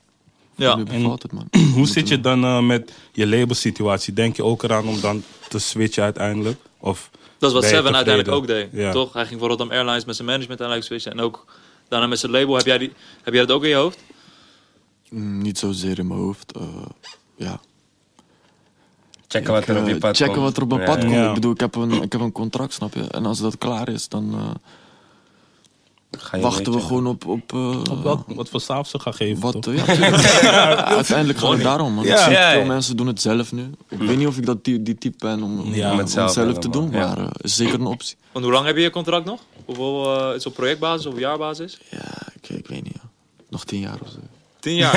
Speaker 2: ja.
Speaker 3: nu bevalt het man.
Speaker 4: Hoe zit je dan eh, met je labelsituatie? Denk je ook eraan om dan te switchen uiteindelijk? Of
Speaker 2: Dat is wat
Speaker 4: ben je
Speaker 2: Seven
Speaker 4: tevreden?
Speaker 2: uiteindelijk ook deed,
Speaker 4: Ja.
Speaker 2: toch? Hij ging voor Rotterdam Airlines met zijn management uiteindelijk switchen. En ook daarna met zijn label. Heb jij, die, heb jij dat ook in je hoofd?
Speaker 3: Mm, Niet zozeer in mijn hoofd. eh, ja.
Speaker 1: Checken wat er op
Speaker 3: Eh,
Speaker 1: je pad
Speaker 3: checken
Speaker 1: komt.
Speaker 3: wat er op mijn
Speaker 1: Ja,
Speaker 3: pad
Speaker 1: ja.
Speaker 3: komt.
Speaker 4: Ja.
Speaker 3: Ik bedoel, ik heb, een, ik heb een contract, snap je? En als dat klaar is, dan eh,
Speaker 1: Ga Ah, je
Speaker 3: wachten we
Speaker 1: weten.
Speaker 3: gewoon op... op, eh,
Speaker 4: Op welk- wat voor saaf ze gaan geven?
Speaker 3: Wat,
Speaker 4: toch?
Speaker 3: ja, tuurlijk. Ja, uiteindelijk gaat het daarom, man.
Speaker 4: Ja.
Speaker 3: Ik zie
Speaker 1: Ja,
Speaker 3: veel
Speaker 1: ja.
Speaker 3: mensen doen het zelf nu. Ik weet niet of ik dat die, die type ben om, om,
Speaker 4: Ja,
Speaker 3: om
Speaker 1: met
Speaker 3: het
Speaker 1: zelf
Speaker 3: zelf, te
Speaker 1: helemaal,
Speaker 3: doen,
Speaker 1: ja.
Speaker 3: maar eh, is zeker een optie.
Speaker 2: Want hoe lang heb je je contract nog? Hoeveel, eh, is het op projectbasis of jaarbasis?
Speaker 3: Ja, ik, ik weet niet, ja. Nog tien jaar of zo.
Speaker 2: Tien (laughs) jaar.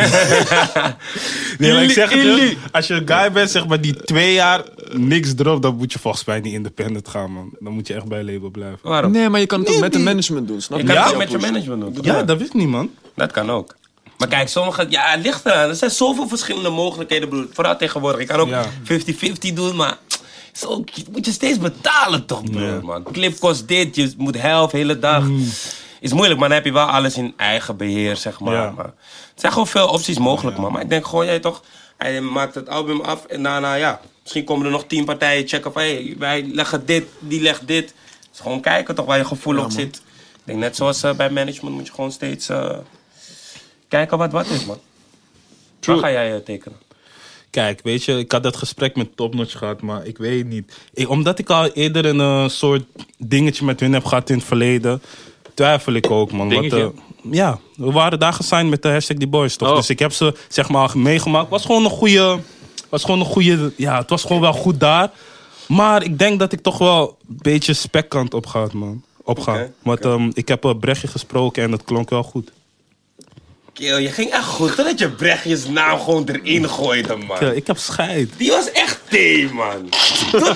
Speaker 4: Nee, maar ik
Speaker 1: Illy-
Speaker 4: zeg het
Speaker 1: Illy.
Speaker 4: je, als je een guy bent zeg maar, die twee jaar niks dropt, dan moet je volgens mij niet independent gaan, man. Dan moet je echt bij een label blijven.
Speaker 1: Waarom?
Speaker 3: Nee, maar je kan het ook met een management doen, snap
Speaker 1: Je
Speaker 3: je?
Speaker 1: kan
Speaker 4: Ja?
Speaker 1: het ook met je management doen. toch?
Speaker 4: Ja, dat wist niet, man.
Speaker 1: Dat kan ook. Maar kijk, sommige... Ja, het ligt eraan. Er zijn zoveel verschillende mogelijkheden, broer. Vooral tegenwoordig. Je kan ook
Speaker 4: Ja.
Speaker 1: 50-50 doen, maar... Zo, je moet je steeds betalen toch, broer, man. Clip kost dit, je moet helft, hele dag. Is moeilijk, maar dan heb je wel alles in eigen beheer, zeg maar.
Speaker 4: Ja.
Speaker 1: maar het zijn gewoon veel opties mogelijk, man. Maar ik denk gewoon, jij toch... Hij maakt het album af en daarna, ja... Misschien komen er nog tien partijen checken van... Hey, wij leggen dit, die legt dit. Dus gewoon kijken toch, waar je gevoel op zit. Ik denk net zoals eh, bij management moet je gewoon steeds... eh, Kijken wat wat is, man. Waar ga jij eh, tekenen?
Speaker 4: Kijk, weet je, ik had dat gesprek met Topnotch gehad, maar ik weet niet. Ik- omdat ik al eerder een eh, soort dingetje met hun heb gehad in het verleden, twijfel ik ook, man. Want,
Speaker 2: Dingetje?
Speaker 4: eh, ja, we waren daar gesigned met de hashtag die boys, toch?
Speaker 2: Oh.
Speaker 4: Dus ik heb ze, zeg maar, meegemaakt. Was gewoon een goede, was gewoon een goede, ja, het was gewoon wel goed daar. Maar ik denk dat ik toch wel een beetje spekkant op gaat, man. Opgaan.
Speaker 1: Oké,
Speaker 4: Want ehm, ik heb een Brechtje gesproken en dat klonk wel goed.
Speaker 1: Kiel, je ging echt goed. Totdat je Brechtjes naam gewoon erin gooide,
Speaker 4: Ja,
Speaker 1: man.
Speaker 4: ik heb scheid.
Speaker 1: Die was echt thee, man. Tot,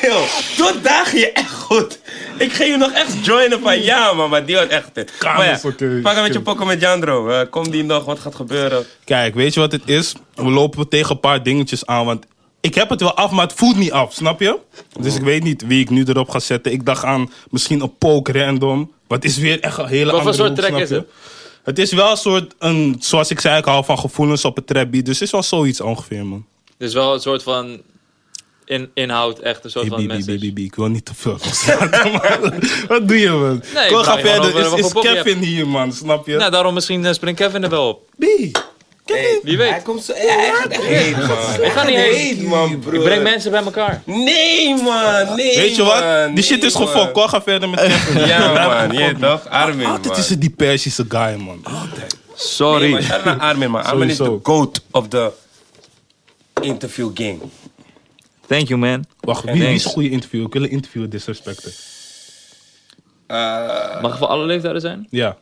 Speaker 1: Kiel, tot daar ging je echt goed. Ik ging je nog echt joinen van ja, man, maar die was echt thee. Maar ja,
Speaker 4: Kamerverkeer.
Speaker 1: pak hem met je pokken met Jandro. Eh, kom die nog, wat gaat gebeuren?
Speaker 4: Kijk, weet je wat het is? We lopen tegen een paar dingetjes aan, want ik heb het wel af, maar het voelt niet af, snap je? Dus ik weet niet wie ik nu erop ga zetten. Ik dacht aan misschien een poke random. Wat is weer echt een hele
Speaker 2: Wat voor
Speaker 4: andere
Speaker 2: soort
Speaker 4: hoek,
Speaker 2: track
Speaker 4: snap
Speaker 2: is
Speaker 4: je?
Speaker 2: het?
Speaker 4: Het is wel een soort, een, zoals ik zei, ik hou van gevoelens op een trapbeat. Dus het is wel zoiets ongeveer, man.
Speaker 2: dus wel een soort van in, inhoud, echt een soort
Speaker 4: Hey,
Speaker 2: van
Speaker 4: Bibi,
Speaker 2: message.
Speaker 4: Bibi, Bibi, ik wil niet te veel praten, man. (laughs) Wat doe je, man?
Speaker 2: Nee, ik
Speaker 4: Kom,
Speaker 2: vraag
Speaker 4: ga
Speaker 2: je gewoon
Speaker 4: verder.
Speaker 2: over Nou,
Speaker 4: Is,
Speaker 2: wat
Speaker 4: is
Speaker 2: voor pop je
Speaker 4: Kevin hier, man, snap je?
Speaker 2: Nou, daarom misschien eh, springt Kevin er wel op.
Speaker 4: Nee.
Speaker 2: Wie weet.
Speaker 1: Hij komt zo... eh, Hij gaat echt heen, man. Ik
Speaker 2: ga niet heen.
Speaker 1: man,
Speaker 2: Ik
Speaker 1: broer.
Speaker 4: Eh,
Speaker 2: breng mensen bij elkaar.
Speaker 1: Nee, man. Nee,
Speaker 4: Weet je
Speaker 1: man.
Speaker 2: eh,
Speaker 4: wat? Die shit
Speaker 1: Nee,
Speaker 4: is
Speaker 1: man.
Speaker 4: gefokt. Kom, ga verder
Speaker 2: (laughs)
Speaker 4: met Kevin.
Speaker 1: Ja,
Speaker 4: (laughs)
Speaker 1: man. Je toch? Armin, man.
Speaker 4: Altijd is het die Persische guy, man. Altijd.
Speaker 2: Sorry.
Speaker 1: Nee, maar shout out naar Armin, man. Armin is de
Speaker 4: Sowieso.
Speaker 1: goat of the interview game.
Speaker 2: Thank you, man.
Speaker 4: Wacht, wie,
Speaker 2: thanks.
Speaker 4: wie is een goede interview? Ik wil een interview disrespecten.
Speaker 2: Mag ik voor alle leeftijden zijn?
Speaker 4: Ja.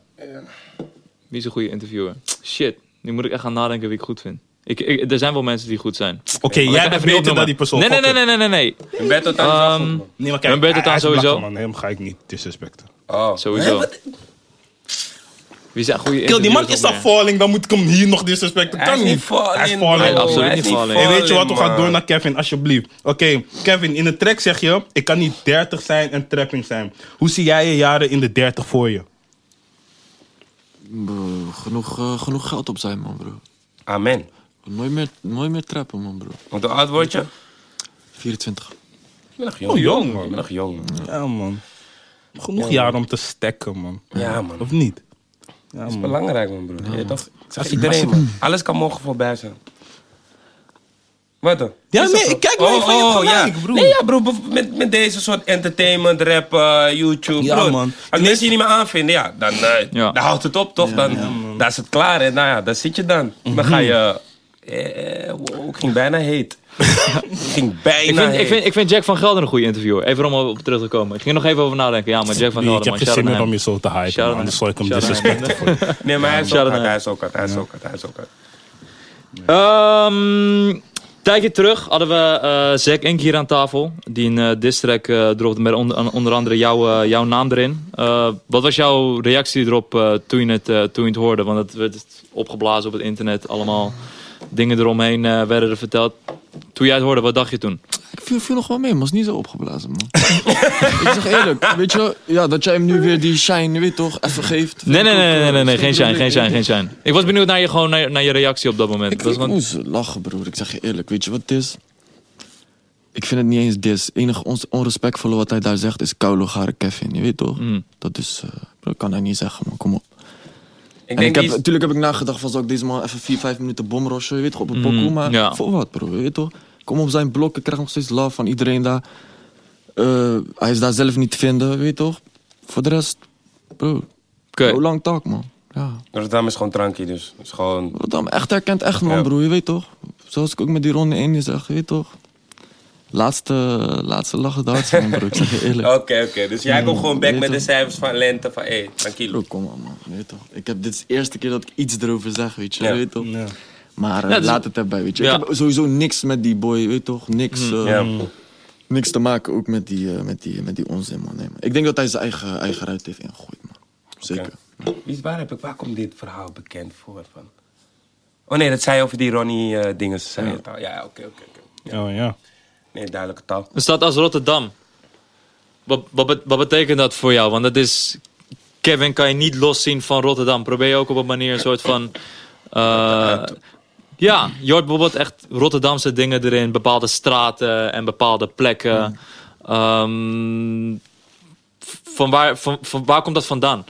Speaker 2: Wie is een goede interviewer? Shit, nu moet ik echt gaan nadenken wie ik goed vind. Ik, ik- er zijn wel mensen die goed zijn.
Speaker 4: Oké, jij bent beter dan die persoon.
Speaker 2: Nee, nee,
Speaker 4: Fuck
Speaker 2: nee,
Speaker 4: it.
Speaker 2: nee, nee, nee. nee. Ehm,
Speaker 1: Een battle time is wel
Speaker 4: Ehm,
Speaker 1: goed, man.
Speaker 4: Nee, maar kijk,
Speaker 2: Dan ben je het
Speaker 4: hij-
Speaker 2: dan
Speaker 4: hij is
Speaker 2: sowieso.
Speaker 4: blakker, man. Hem ga ik niet disrespecten.
Speaker 1: Oh.
Speaker 2: Sowieso.
Speaker 1: Hè, wat-
Speaker 2: Wie zijn goede
Speaker 4: Kill, die man
Speaker 2: interviewers
Speaker 4: is
Speaker 2: nog
Speaker 4: dan falling, dan moet ik hem hier nog disrespecten.
Speaker 1: Hij
Speaker 4: Kan
Speaker 1: is niet
Speaker 4: niet.
Speaker 1: falling.
Speaker 4: Hij is falling.
Speaker 2: Nee,
Speaker 1: bro.
Speaker 2: absoluut
Speaker 1: Hij is
Speaker 2: niet falling.
Speaker 4: Hey, weet je wat, we gaan
Speaker 1: man.
Speaker 4: door naar Kevin, alsjeblieft. Oké, Kevin, in de track zeg je, ik kan niet 30 zijn en trapping zijn. Hoe zie jij je jaren in de 30 voor je?
Speaker 3: Bro, genoeg, eh, genoeg geld op zijn, man, bro.
Speaker 1: Amen.
Speaker 3: Nooit meer, nooit meer trappen, man, bro.
Speaker 1: Want hoe oud word je?
Speaker 3: 24.
Speaker 1: Ik ben nog jong.
Speaker 4: Oh, jong,
Speaker 1: man. Ik ben nog jong, man.
Speaker 4: Ja, man. Genoeg jaren om te stekken, man.
Speaker 1: Ja, man.
Speaker 4: Of niet? Ja,
Speaker 1: Dat is
Speaker 4: man.
Speaker 1: belangrijk, man, broer. Ja, toch? Ik zeg iedereen, man. Alles kan morgen voorbij zijn. Wat dan?
Speaker 4: Ja,
Speaker 1: Is dat
Speaker 4: nee,
Speaker 1: zo? Oh,
Speaker 4: ik kijk wel even, je hebt gelijk,
Speaker 1: ja.
Speaker 4: broer.
Speaker 1: Nee, ja, broer, bev- met, met deze soort entertainment, rap, eh, YouTube,
Speaker 4: Ja,
Speaker 1: broer.
Speaker 4: man.
Speaker 1: Als mensen je niet meer aanvinden, ja, dan, eh,
Speaker 2: Ja.
Speaker 1: dan houdt het op, toch? dan, dan is het klaar, en nou ja, dan zit je dan. Dan ga je... Eh, wow, ik ging bijna heet. ik ging bijna
Speaker 2: Ik vind,
Speaker 1: heet.
Speaker 2: ik, vind, ik vind Jack van Gelder een goede interviewer. Even om op terug te komen. Ik ging er nog even over nadenken. Ja, maar Jack van
Speaker 4: Nee, ik
Speaker 2: Gelder,
Speaker 4: heb
Speaker 2: man.
Speaker 4: geen
Speaker 2: shout-out
Speaker 4: zin meer
Speaker 2: naar
Speaker 4: om je
Speaker 2: hem.
Speaker 4: zo te hypen,
Speaker 2: Shout-out
Speaker 4: man. Dus zal ik hem
Speaker 2: Shout-out naar hem.
Speaker 4: disrespecten voor je. (laughs)
Speaker 1: Nee, maar hij is
Speaker 2: Shout
Speaker 1: ook
Speaker 2: out
Speaker 1: hard,
Speaker 2: naar-
Speaker 1: hij is ook hard, hij is ook hard, hij is ook hard.
Speaker 2: Ehm, Een tijdje terug hadden we eh Zack Ink hier aan tafel. Die een eh distrack eh dropte met onder, an- onder andere jouw, eh, jouw naam erin. Eh, wat was jouw reactie erop eh, toen, je het, eh, toen je het hoorde? Want het werd opgeblazen op het internet. Allemaal dingen eromheen eh, werden er verteld. Toen jij het hoorde, wat dacht je toen?
Speaker 3: Ik viel, viel nog wel mee, maar is niet zo opgeblazen, man. ik zeg eerlijk, weet je, ja, dat jij hem nu weer die shine, je weet toch, even geeft.
Speaker 2: Nee, nee,
Speaker 3: Vind ik
Speaker 2: nee,
Speaker 3: ook, eh,
Speaker 2: nee, nee, nee,
Speaker 3: is
Speaker 2: geen
Speaker 3: geen
Speaker 2: zijn, geen
Speaker 3: probleem.
Speaker 2: zijn, geen zijn. Ik was benieuwd naar je, gewoon naar, naar je reactie op dat moment.
Speaker 3: Ik,
Speaker 2: dat was
Speaker 3: ik
Speaker 2: gewoon-
Speaker 3: moest lachen, broer. Ik zeg je eerlijk, weet je wat het is? Ik vind het niet eens dis. Het enige on onrespectvolle wat hij daar zegt is Kaulo Gare Kevin, je weet toch?
Speaker 2: Mm.
Speaker 3: Dat is, eh, dat kan hij niet zeggen, man, kom op.
Speaker 1: Ik
Speaker 3: En ik
Speaker 1: denk die
Speaker 3: heb,
Speaker 1: is-
Speaker 3: natuurlijk heb ik nagedacht van, zal ik deze man even 4, 5 minuten bomroshen, je weet toch, op een
Speaker 2: Mm,
Speaker 3: pokoe, maar
Speaker 2: ja.
Speaker 3: voor wat, bro, je weet toch? Ik Kom op zijn blok, ik krijg nog steeds love van iedereen daar. Eh, hij is daar zelf niet te vinden, weet je toch? Voor de rest, bro,
Speaker 2: Oké.
Speaker 3: hoe lang tak, man? Ja,
Speaker 1: Rotterdam is gewoon tranky, dus. Het is gewoon...
Speaker 3: Rotterdam echt herkent echt, man,
Speaker 1: Ja.
Speaker 3: bro, je weet toch? Zoals ik ook met die ronde 1 zeg, je weet toch? Laatste, laatste lachen de hardste, man, bro, ik zeg je
Speaker 1: (laughs)
Speaker 3: eerlijk.
Speaker 1: Oké, oké. Dus jij komt gewoon back
Speaker 3: weet
Speaker 1: met de
Speaker 3: het.
Speaker 1: cijfers van lente van hé, tranquilo.
Speaker 3: Bro, kom op, man, je weet toch? Ik heb, dit is de eerste keer dat ik iets erover zeg, weet je,
Speaker 1: Ja.
Speaker 3: je weet toch?
Speaker 4: Ja.
Speaker 3: Maar eh,
Speaker 2: Ja, dus-
Speaker 3: laat het erbij, weet je.
Speaker 2: Ja.
Speaker 3: Ik heb sowieso niks met die boy, weet toch? Niks, eh,
Speaker 1: Ja.
Speaker 3: niks te maken ook met die, eh, met die, met die onzin, man. Nee, man. Ik denk dat hij zijn eigen, eigen ruit heeft ingegooid, man. Zeker.
Speaker 1: Wie is waar heb ik, waar komt dit verhaal bekend voor van? Oh nee, dat zei je over die Ronnie eh dingen. Zei het al. Ja, oké, oké, oké.
Speaker 4: Oh ja.
Speaker 1: Nee, duidelijke taal.
Speaker 2: Een stad als Rotterdam. Wat, wat, bet- wat betekent dat voor jou? Want dat is. Kevin kan je niet loszien van Rotterdam. Probeer je ook op een manier een soort van. eh, ja, je hoort bijvoorbeeld echt Rotterdamse dingen erin. Bepaalde straten en bepaalde plekken. Ehm, v- van, waar, van, van waar komt dat vandaan?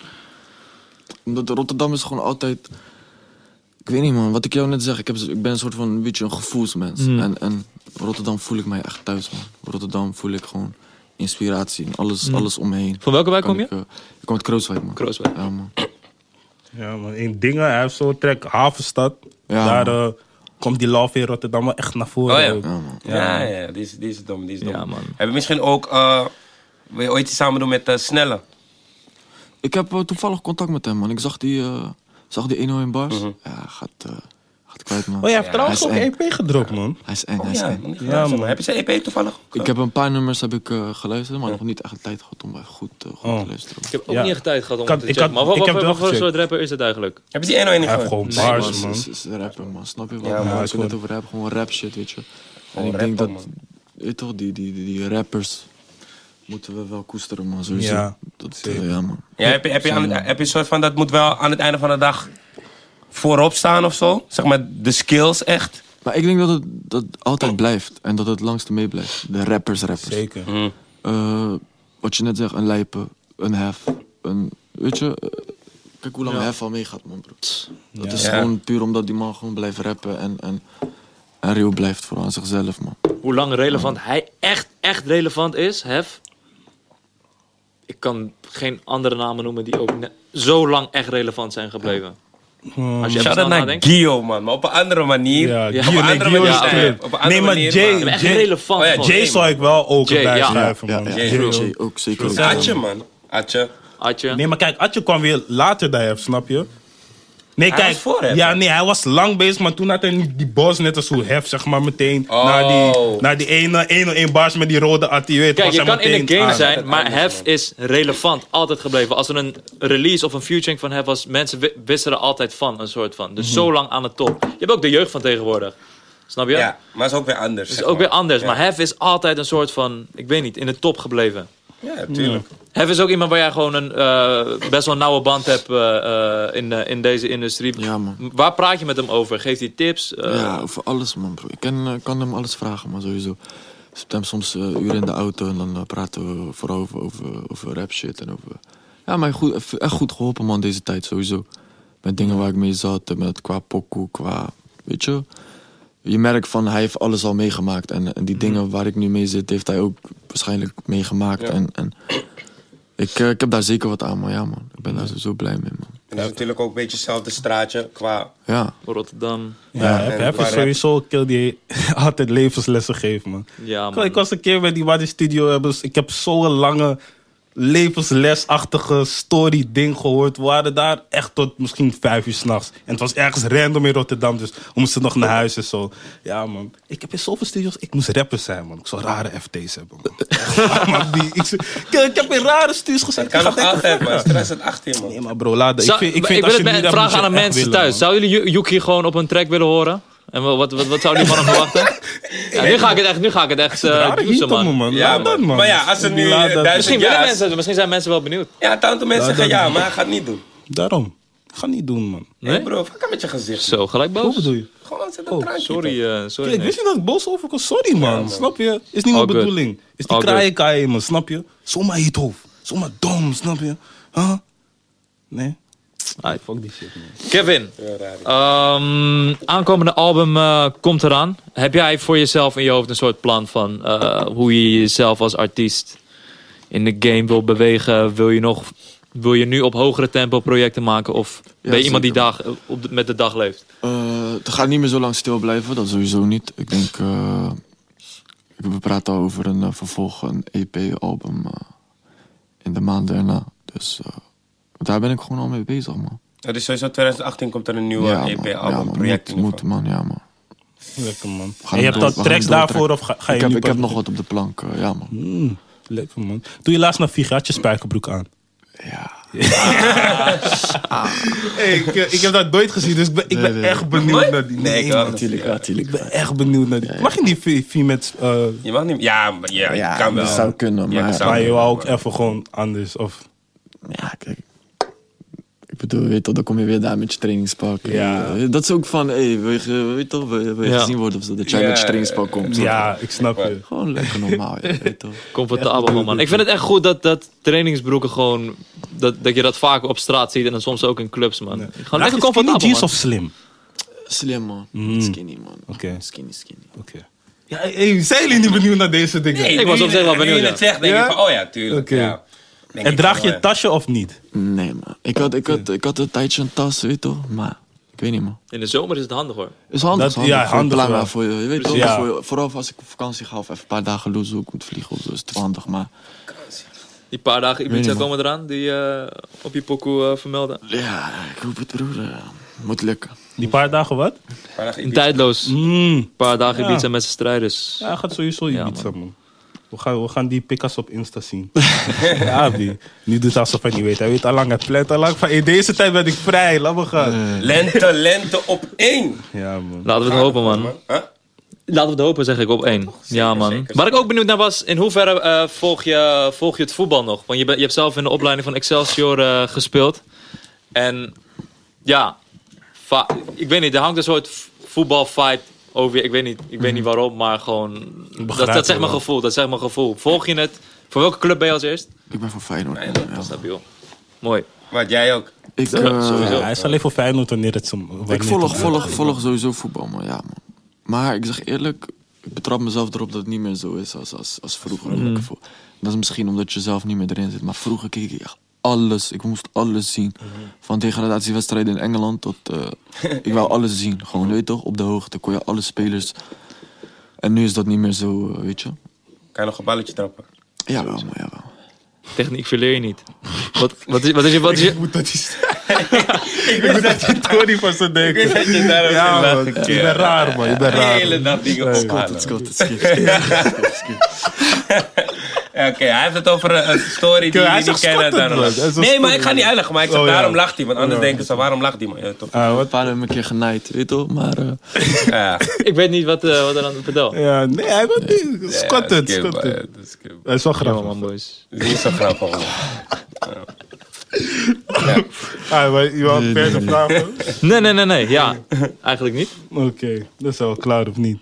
Speaker 3: Omdat Rotterdam is gewoon altijd... Ik weet niet, man. Wat ik jou net zeg, ik, heb, ik ben een soort van, weet je, een gevoelsmens. En, en Rotterdam voel ik mij echt thuis, man. Rotterdam voel ik gewoon inspiratie en alles, alles omheen.
Speaker 2: Van welke wijk
Speaker 3: Kan
Speaker 2: kom je?
Speaker 3: Ik, eh, ik kom uit Krooswijk, man.
Speaker 2: Krooswijk.
Speaker 3: Ja, man.
Speaker 4: Ja, man. In Dingen, hij heeft zo'n trek. Havenstad.
Speaker 3: Ja,
Speaker 4: Daar eh, komt die love in Rotterdam wel echt naar voren.
Speaker 1: Oh ja.
Speaker 4: ook.
Speaker 3: Ja, man.
Speaker 1: Ja, ja, die is, die is dom, die is dom.
Speaker 2: Ja, man.
Speaker 1: Heb je misschien ook, eh wil je ooit iets samen doen met eh, Snelle?
Speaker 3: Ik heb eh, toevallig contact met hem, man. Ik zag die, eh zag die 1 in bars. Ja, gaat, eh, gaat kwijt, man.
Speaker 4: Oh, jij hebt trouwens ook
Speaker 3: Hij is
Speaker 4: EP gedropt, man.
Speaker 3: Hij is eng,
Speaker 1: Oh
Speaker 3: hij is
Speaker 1: ja,
Speaker 3: eng.
Speaker 1: man, die
Speaker 4: Ja,
Speaker 1: geluisterd,
Speaker 4: man.
Speaker 1: man. Heb je zijn EP toevallig?
Speaker 3: Ik heb een paar nummers heb ik, eh, geluisterd, maar nog niet echt de tijd gehad om even goed, eh, goed
Speaker 4: Oh.
Speaker 3: te luisteren.
Speaker 2: Ik heb ook
Speaker 4: Ja.
Speaker 2: niet echt tijd gehad om
Speaker 4: Kan- ik
Speaker 2: te checken.
Speaker 4: kan-
Speaker 2: maar wat,
Speaker 4: ik heb
Speaker 2: wat-
Speaker 4: wel
Speaker 2: wat voor
Speaker 4: gecheckt.
Speaker 2: soort rapper is het eigenlijk?
Speaker 1: Heb je die 101 niet
Speaker 4: Hij heeft
Speaker 1: gehoord?
Speaker 4: gewoon
Speaker 3: Nee,
Speaker 4: bars,
Speaker 3: man,
Speaker 4: man.
Speaker 3: Is, is rapper, man. Snap je wel?
Speaker 1: Ja,
Speaker 3: Ja,
Speaker 1: man,
Speaker 3: man.
Speaker 4: hij is
Speaker 3: Ik wil het
Speaker 4: gewoon-
Speaker 3: over rap, gewoon rap shit, weet je. En
Speaker 1: Gewoon
Speaker 3: ik denk
Speaker 1: rapper,
Speaker 3: dat,
Speaker 1: man.
Speaker 3: weet je toch, die, die, die, die rappers moeten we wel koesteren, man. Sowieso.
Speaker 4: Ja,
Speaker 3: dat, eh,
Speaker 4: zeker.
Speaker 3: ja, man.
Speaker 1: Ja, heb je, heb, je aan het- heb je een soort van, dat moet wel aan het einde van de dag voorop staan of zo? Zeg maar, de skills echt.
Speaker 3: Maar ik denk dat het dat altijd blijft en dat het langste mee blijft. De rappers, rappers.
Speaker 4: Zeker.
Speaker 2: Oh,
Speaker 1: Hm.
Speaker 3: Eh, wat je net zegt, een lijpen, een hef, een, weet je, eh, Kijk hoe lang Hef al meegaat, man, bro. Dat is
Speaker 1: Ja.
Speaker 3: gewoon puur omdat die man gewoon blijft rappen en, en, en real blijft voor aan zichzelf, man.
Speaker 2: Hoe lang relevant hij echt, echt relevant is, Hef. Ik kan geen andere namen noemen die ook ne- zo lang echt relevant zijn gebleven. Als je even
Speaker 1: Shout-out
Speaker 2: snel
Speaker 1: naar
Speaker 2: nadenkt.
Speaker 1: Gio, man. Maar op een andere manier.
Speaker 4: Ja,
Speaker 1: Op
Speaker 4: Gio,
Speaker 1: een
Speaker 4: nee,
Speaker 1: andere
Speaker 4: Gio
Speaker 1: manier
Speaker 4: is
Speaker 1: zijn we-
Speaker 4: clean.
Speaker 1: op een andere
Speaker 4: Nee, maar
Speaker 1: manier,
Speaker 4: Jay,
Speaker 1: man.
Speaker 2: Echt
Speaker 4: Jay-
Speaker 2: relevant.
Speaker 1: Oh ja,
Speaker 2: man.
Speaker 4: Jay zal ik wel ook
Speaker 2: Jay,
Speaker 4: erbij
Speaker 2: ja.
Speaker 4: schrijven,
Speaker 3: Ja,
Speaker 4: man.
Speaker 3: ja,
Speaker 1: Jay ook.
Speaker 3: Jay ook zeker.
Speaker 1: Is Dus Atje, man. Atje.
Speaker 2: Atje.
Speaker 4: Nee, maar kijk, Atje kwam weer later daar, snap je? Nee,
Speaker 1: Hij
Speaker 4: kijk,
Speaker 1: was voor Hef.
Speaker 4: ja, nee, hij was lang bezig, maar toen had hij niet die bos net als hoe hef, zeg maar, meteen.
Speaker 1: Oh.
Speaker 4: Na die, na die ene, ene, ene baas met die rode Atje, je weet
Speaker 2: Kijk,
Speaker 4: was
Speaker 2: je
Speaker 4: hij
Speaker 2: kan in
Speaker 4: meteen
Speaker 2: de game
Speaker 1: Dat
Speaker 4: aan.
Speaker 2: zijn,
Speaker 1: is
Speaker 2: maar
Speaker 1: anders,
Speaker 2: Hef
Speaker 1: man.
Speaker 2: is relevant. Altijd gebleven. Als er een release of een featuring van Hef was, mensen wi- wisten er altijd van. Een soort van.
Speaker 1: Mhm.
Speaker 2: Dus zo lang aan de top. Je hebt ook de jeugd van tegenwoordig. Snap je?
Speaker 1: Ja, maar is ook weer anders.
Speaker 2: Het
Speaker 1: zeg
Speaker 2: is ook
Speaker 1: maar.
Speaker 2: weer anders.
Speaker 1: Ja.
Speaker 2: Maar Hef is altijd een soort van, ik weet niet, in de top gebleven.
Speaker 1: Ja, tuurlijk.
Speaker 2: Hef is ook iemand waar jij gewoon een eh, best wel nauwe band hebt eh, eh, in, eh, in deze industrie.
Speaker 3: Ja, man.
Speaker 2: Waar praat je met hem over? Geeft hij tips? Eh,
Speaker 3: Ja, over alles, man, bro. Ik kan, eh, kan hem alles vragen, man, sowieso. Ik zit hem soms eh, uren in de auto en dan eh, praten we vooral over, over, over rap shit en over... Ja, maar goed, echt goed geholpen, man, deze tijd, sowieso. Met dingen waar ik mee zat, eh, met qua pokoe, qua... Weet je? Je merkt van, hij heeft alles al meegemaakt. En, en die dingen waar ik nu mee zit, heeft hij ook waarschijnlijk meegemaakt. En, en ik, eh, ik heb daar zeker wat aan, man. Ja, man. Ik ben daar sowieso blij mee, man.
Speaker 1: En dat is natuurlijk ook een beetje hetzelfde straatje qua...
Speaker 3: Ja.
Speaker 2: Rotterdam.
Speaker 4: Ja, hef,
Speaker 1: en
Speaker 4: hef
Speaker 1: qua
Speaker 4: is
Speaker 1: rap.
Speaker 4: sowieso een kill die (laughs) altijd levenslessen geeft, man.
Speaker 2: Ja,
Speaker 4: Ik was-
Speaker 2: man.
Speaker 4: Ik was een keer bij die Wadi Studio. hebben ze- Ik heb zo'n lange levenslesachtige story ding gehoord. We waren daar echt tot misschien vijf uur s'nachts. En het was ergens random in Rotterdam. Dus we moesten nog naar huis en zo. Ja man, ik heb in zoveel studios... Ik moest rapper zijn man. Ik zou rare FT's hebben
Speaker 2: (laughs)
Speaker 4: man. Echt, man, die- ik, zou- ik- ik heb in rare studios gezeten.
Speaker 1: Dat kan
Speaker 4: Ik ga
Speaker 1: nog
Speaker 4: denken-
Speaker 1: altijd, man. Stress het 18, man.
Speaker 4: Nee maar bro, laat dat.
Speaker 2: Zou-
Speaker 4: vind- vind als
Speaker 2: ik wil het
Speaker 4: je
Speaker 2: me-
Speaker 4: niet rapt, moet
Speaker 2: vragen
Speaker 4: je
Speaker 2: aan de
Speaker 4: echt
Speaker 2: mensen
Speaker 4: willen,
Speaker 2: thuis.
Speaker 4: man.
Speaker 2: Zou jullie Yu- Yuki gewoon op een track willen horen? En wat, wat, wat, wat
Speaker 4: (laughs)
Speaker 2: zouden die mannen verwachten? Ja, nu ga ik het echt, nu ga ik het echt eh,
Speaker 4: Rare
Speaker 2: juicen,
Speaker 4: heat om me,
Speaker 2: man.
Speaker 4: man.
Speaker 1: Ja,
Speaker 4: Laat dat
Speaker 1: man.
Speaker 4: man.
Speaker 1: Maar ja, als er nu,
Speaker 4: Laat
Speaker 1: eh,
Speaker 4: dat.
Speaker 1: duizend-
Speaker 2: Misschien willen
Speaker 1: Ja,
Speaker 2: mensen, misschien zijn mensen wel benieuwd.
Speaker 1: Ja, een aantal mensen
Speaker 4: Dat-
Speaker 1: zeggen
Speaker 4: Nou, dat-
Speaker 1: ja, maar hij gaat het niet doen.
Speaker 4: Daarom. Ga niet doen man.
Speaker 1: Nee,
Speaker 2: Nee?
Speaker 1: bro, fuck aan met je gezicht.
Speaker 2: Zo, gelijk
Speaker 4: Hoe
Speaker 2: boos.
Speaker 4: bedoel je?
Speaker 1: Gewoon zet een
Speaker 4: Oh,
Speaker 1: traantje.
Speaker 2: Sorry,
Speaker 1: toch.
Speaker 2: eh, sorry.
Speaker 4: Ik
Speaker 2: nee.
Speaker 4: wist niet dat ik boos overkwam. Sorry, man. Snap je? Is niet
Speaker 2: All
Speaker 4: mijn
Speaker 2: good.
Speaker 4: bedoeling. Is die
Speaker 2: All good.
Speaker 4: kraaien kaaien, man. Snap je? Zomaar heet hoofd. Zomaar dom, snap je? Huh? Nee.
Speaker 2: Alright.
Speaker 4: Ah, Fuck die shit, man.
Speaker 2: Kevin,
Speaker 1: Heel raar.
Speaker 2: ehm, aankomende album eh, komt eraan. Heb jij voor jezelf in je hoofd een soort plan van eh, hoe je jezelf als artiest in de game wil bewegen? Wil je, nog, wil je nu op hogere tempo projecten maken? Of ben je iemand die
Speaker 3: zeker.
Speaker 2: dag, eh, op de- met de dag leeft?
Speaker 3: Eh, het gaat niet meer zo lang stil blijven, dat sowieso niet. Ik denk, eh, we praten al over een eh, vervolg, een EP-album eh, in de maand daarna. Dus eh, daar ben ik gewoon al mee bezig, man.
Speaker 1: Dat is dus sowieso 2018 komt er een nieuwe
Speaker 3: Ja, man. Ja, man.
Speaker 1: EP-album,
Speaker 3: Moet-
Speaker 1: project in
Speaker 3: moet,
Speaker 1: ieder geval.
Speaker 3: man, ja, man.
Speaker 4: Lekker, man.
Speaker 3: gaan
Speaker 4: En je
Speaker 3: hem
Speaker 4: hebt
Speaker 3: door-
Speaker 4: dat
Speaker 3: we gaan
Speaker 4: tracks
Speaker 3: hem
Speaker 4: daarvoor of
Speaker 3: doortrekken.
Speaker 4: ga, ga je
Speaker 3: ik heb,
Speaker 4: nu
Speaker 3: ik
Speaker 4: pas-
Speaker 3: heb nog wat op de plank, eh, ja,
Speaker 1: Hm?
Speaker 3: man.
Speaker 4: Mm, lekker, man. Doe je laatst naar Viga, had je spijkerbroek aan.
Speaker 3: Ja.
Speaker 4: Hey, ik, eh, ik heb dat nooit gezien, dus ik ben, ik ben
Speaker 3: nee, nee.
Speaker 4: echt benieuwd naar die.
Speaker 1: Nee, ik
Speaker 4: man.
Speaker 1: ook.
Speaker 3: Natuurlijk, natuurlijk.
Speaker 4: Ik ben echt benieuwd naar die. Mag je die vi- vi met... eh
Speaker 1: Je mag niet... Ja, maar- ja,
Speaker 3: Ja,
Speaker 1: je kan wel.
Speaker 3: dat zou kunnen,
Speaker 1: Ja,
Speaker 3: maar-
Speaker 1: dat zou
Speaker 4: maar je
Speaker 1: kunnen,
Speaker 4: wou ook
Speaker 1: maar-
Speaker 4: even gewoon anders, of...
Speaker 3: Ja, kijk. Ik bedoel, weet toch, dan kom je weer daar met je trainingspak.
Speaker 4: Ja.
Speaker 3: En, eh, dat is ook van, hé, hey, wil je, ge- weet toch, wil je, wil je
Speaker 2: Ja.
Speaker 3: gezien worden of zo, dat jij
Speaker 1: Ja,
Speaker 3: met je trainingspak komt.
Speaker 4: Ja, ik snap je.
Speaker 3: Gewoon lekker normaal, ja, weet toch.
Speaker 2: Comfortabel, man. Ik vind het echt goed dat, dat trainingsbroeken gewoon... Dat, dat je dat vaak op straat ziet en dan soms ook in clubs, man. Gewoon
Speaker 4: Draag je
Speaker 2: lekker
Speaker 4: skinny
Speaker 2: comfortabel,
Speaker 4: jeans
Speaker 2: man.
Speaker 4: of slim?
Speaker 3: Slim, man. Skinny, man.
Speaker 4: Mhm. Oké.
Speaker 3: Skinny, skinny.
Speaker 4: Oké. Ja, hey, zijn jullie niet benieuwd naar deze dingen?
Speaker 1: Nee,
Speaker 2: Ik was
Speaker 1: nu
Speaker 2: op
Speaker 1: je-
Speaker 2: zich wel benieuwd,
Speaker 1: Nu je
Speaker 2: ja.
Speaker 1: het zegt, denk
Speaker 4: Ja?
Speaker 1: ik van, oh ja, tuurlijk.
Speaker 4: Oké.
Speaker 1: ja. Denk
Speaker 4: En
Speaker 1: ik
Speaker 4: draag
Speaker 1: van,
Speaker 4: je
Speaker 1: oh,
Speaker 4: tasje of niet?
Speaker 3: Nee, man. Ik had, ik, had, ik had een tijdje een tas, weet toch? Maar ik weet niet, man.
Speaker 2: In de zomer is het handig, hoor.
Speaker 3: Is handig,
Speaker 4: Dat-
Speaker 3: is handig.
Speaker 4: ja,
Speaker 3: Gewoon
Speaker 4: handig
Speaker 3: plan
Speaker 4: wel.
Speaker 3: maar voor je. Je weet toch,
Speaker 4: Ja.
Speaker 3: voor je- vooral als ik op vakantie ga of even een paar dagen los hoe ik moet vliegen of zo, is het wel handig. Maar
Speaker 2: Die paar dagen
Speaker 3: Weet
Speaker 2: Ibiza
Speaker 3: niet, man.
Speaker 2: komen eraan, die eh, op je pokoe eh, vermelden.
Speaker 3: ja, ik hoop het, broer. eh, Moet lukken.
Speaker 4: Die paar dagen wat?
Speaker 1: waar lag
Speaker 2: Een
Speaker 1: je-
Speaker 2: tijdloos. Een
Speaker 4: Mm.
Speaker 2: paar dagen
Speaker 4: Ja.
Speaker 2: Ibiza met dus zijn strijders.
Speaker 4: Ja, gaat sowieso
Speaker 2: Ja,
Speaker 4: Ibiza, man. We gaan, we gaan die pikkas op Insta zien. (laughs) ja, die. Nu doet hij alsof hij niet weet. Hij weet al lang, hij plant al lang van... In deze tijd ben ik vrij, laat me gaan.
Speaker 1: Lente, lente op één.
Speaker 4: Ja, man.
Speaker 2: Laten we het hopen, man.
Speaker 1: Huh?
Speaker 2: Laten we het hopen, zeg ik, op één. Ja, man.
Speaker 1: zeker,
Speaker 2: Waar ik ook benieuwd naar was, in hoeverre eh, volg, je, volg je het voetbal nog? Want je, bent- je hebt zelf in de opleiding van Excelsior eh, gespeeld. En ja, va- ik weet niet, er hangt een soort v- voetbalvibe over je. Ik weet niet, ik weet niet waarom, maar gewoon... Dat,
Speaker 4: Mhm. begrijp
Speaker 2: dat zegt
Speaker 4: je
Speaker 2: mijn
Speaker 4: wel.
Speaker 2: gevoel, dat zegt mijn gevoel. Volg je het? Voor welke club ben je als eerst?
Speaker 3: Ik ben voor Feyenoord.
Speaker 2: Nee,
Speaker 3: man,
Speaker 2: dat
Speaker 3: ja,
Speaker 2: dat is
Speaker 3: man.
Speaker 2: stabiel. Mooi.
Speaker 1: Wat jij ook.
Speaker 3: Ik, eh,
Speaker 4: Ja, hij is alleen voor Feyenoord wanneer het zo.
Speaker 3: ik volg, volg, volg sowieso voetbal, man. Ja, man. Maar ik zeg eerlijk, ik betrap mezelf erop dat het niet meer zo is als, als, als vroeger. Lekker vo- Dat is misschien omdat je zelf niet meer erin zit. Maar vroeger keek ik echt alles. Ik moest alles zien. Van degradatiewedstrijden in Engeland tot... eh, ik wou alles zien. Gewoon, weet je toch? Op de hoogte kon je alle spelers... En nu is dat niet meer zo, eh, weet je?
Speaker 1: Kan je nog een balletje trappen?
Speaker 3: Jawel, man, jawel.
Speaker 2: Techniek verleer je niet. Wat, wat is, wat is, je- wat is,
Speaker 4: (laughs)
Speaker 2: je-
Speaker 4: moet dat is. ik weet dat je Tony van zijn
Speaker 1: Ik
Speaker 4: denken.
Speaker 1: weet dat je daarom
Speaker 4: Ja,
Speaker 1: zin
Speaker 4: man. Je
Speaker 1: lacht.
Speaker 4: bent raar, man. Je bent
Speaker 1: De
Speaker 4: raar.
Speaker 1: hele dag dingen ophalen.
Speaker 3: Scott, het (laughs) skip.
Speaker 1: Ja, Oké, hij heeft het over eh, een een story die
Speaker 4: Hij
Speaker 1: jullie
Speaker 4: is
Speaker 1: niet
Speaker 4: echt
Speaker 1: kennen.
Speaker 4: schottend,
Speaker 1: daarom.
Speaker 4: man. Hij is een
Speaker 1: Nee, maar
Speaker 4: schottend,
Speaker 1: ik ga niet uitleggen. Maar ik zeg,
Speaker 4: Oh, ja.
Speaker 1: daarom lacht hij. Want anders
Speaker 4: Ja.
Speaker 1: denken ze, waarom lacht hij, man?
Speaker 4: (laughs)
Speaker 1: Ja, toch?
Speaker 4: Ah, wat?
Speaker 3: Vader heeft me een keer genaaid, weet je toch? Maar eh,
Speaker 1: Ja,
Speaker 2: ik weet niet wat, eh, wat er aan het vertel.
Speaker 4: Ja, nee, hij wil niet. Squatted,
Speaker 1: Ja, skip,
Speaker 4: squatted.
Speaker 1: eh, dat is skip.
Speaker 4: Dat is wel grappig.
Speaker 2: man, boys.
Speaker 1: Dat is niet zo grappig, man. (laughs)
Speaker 4: Ah, maar je wou verder vragen?
Speaker 2: Nee, nee, nee, nee. Ja, eigenlijk niet.
Speaker 4: Oké, dat is al klaar of niet?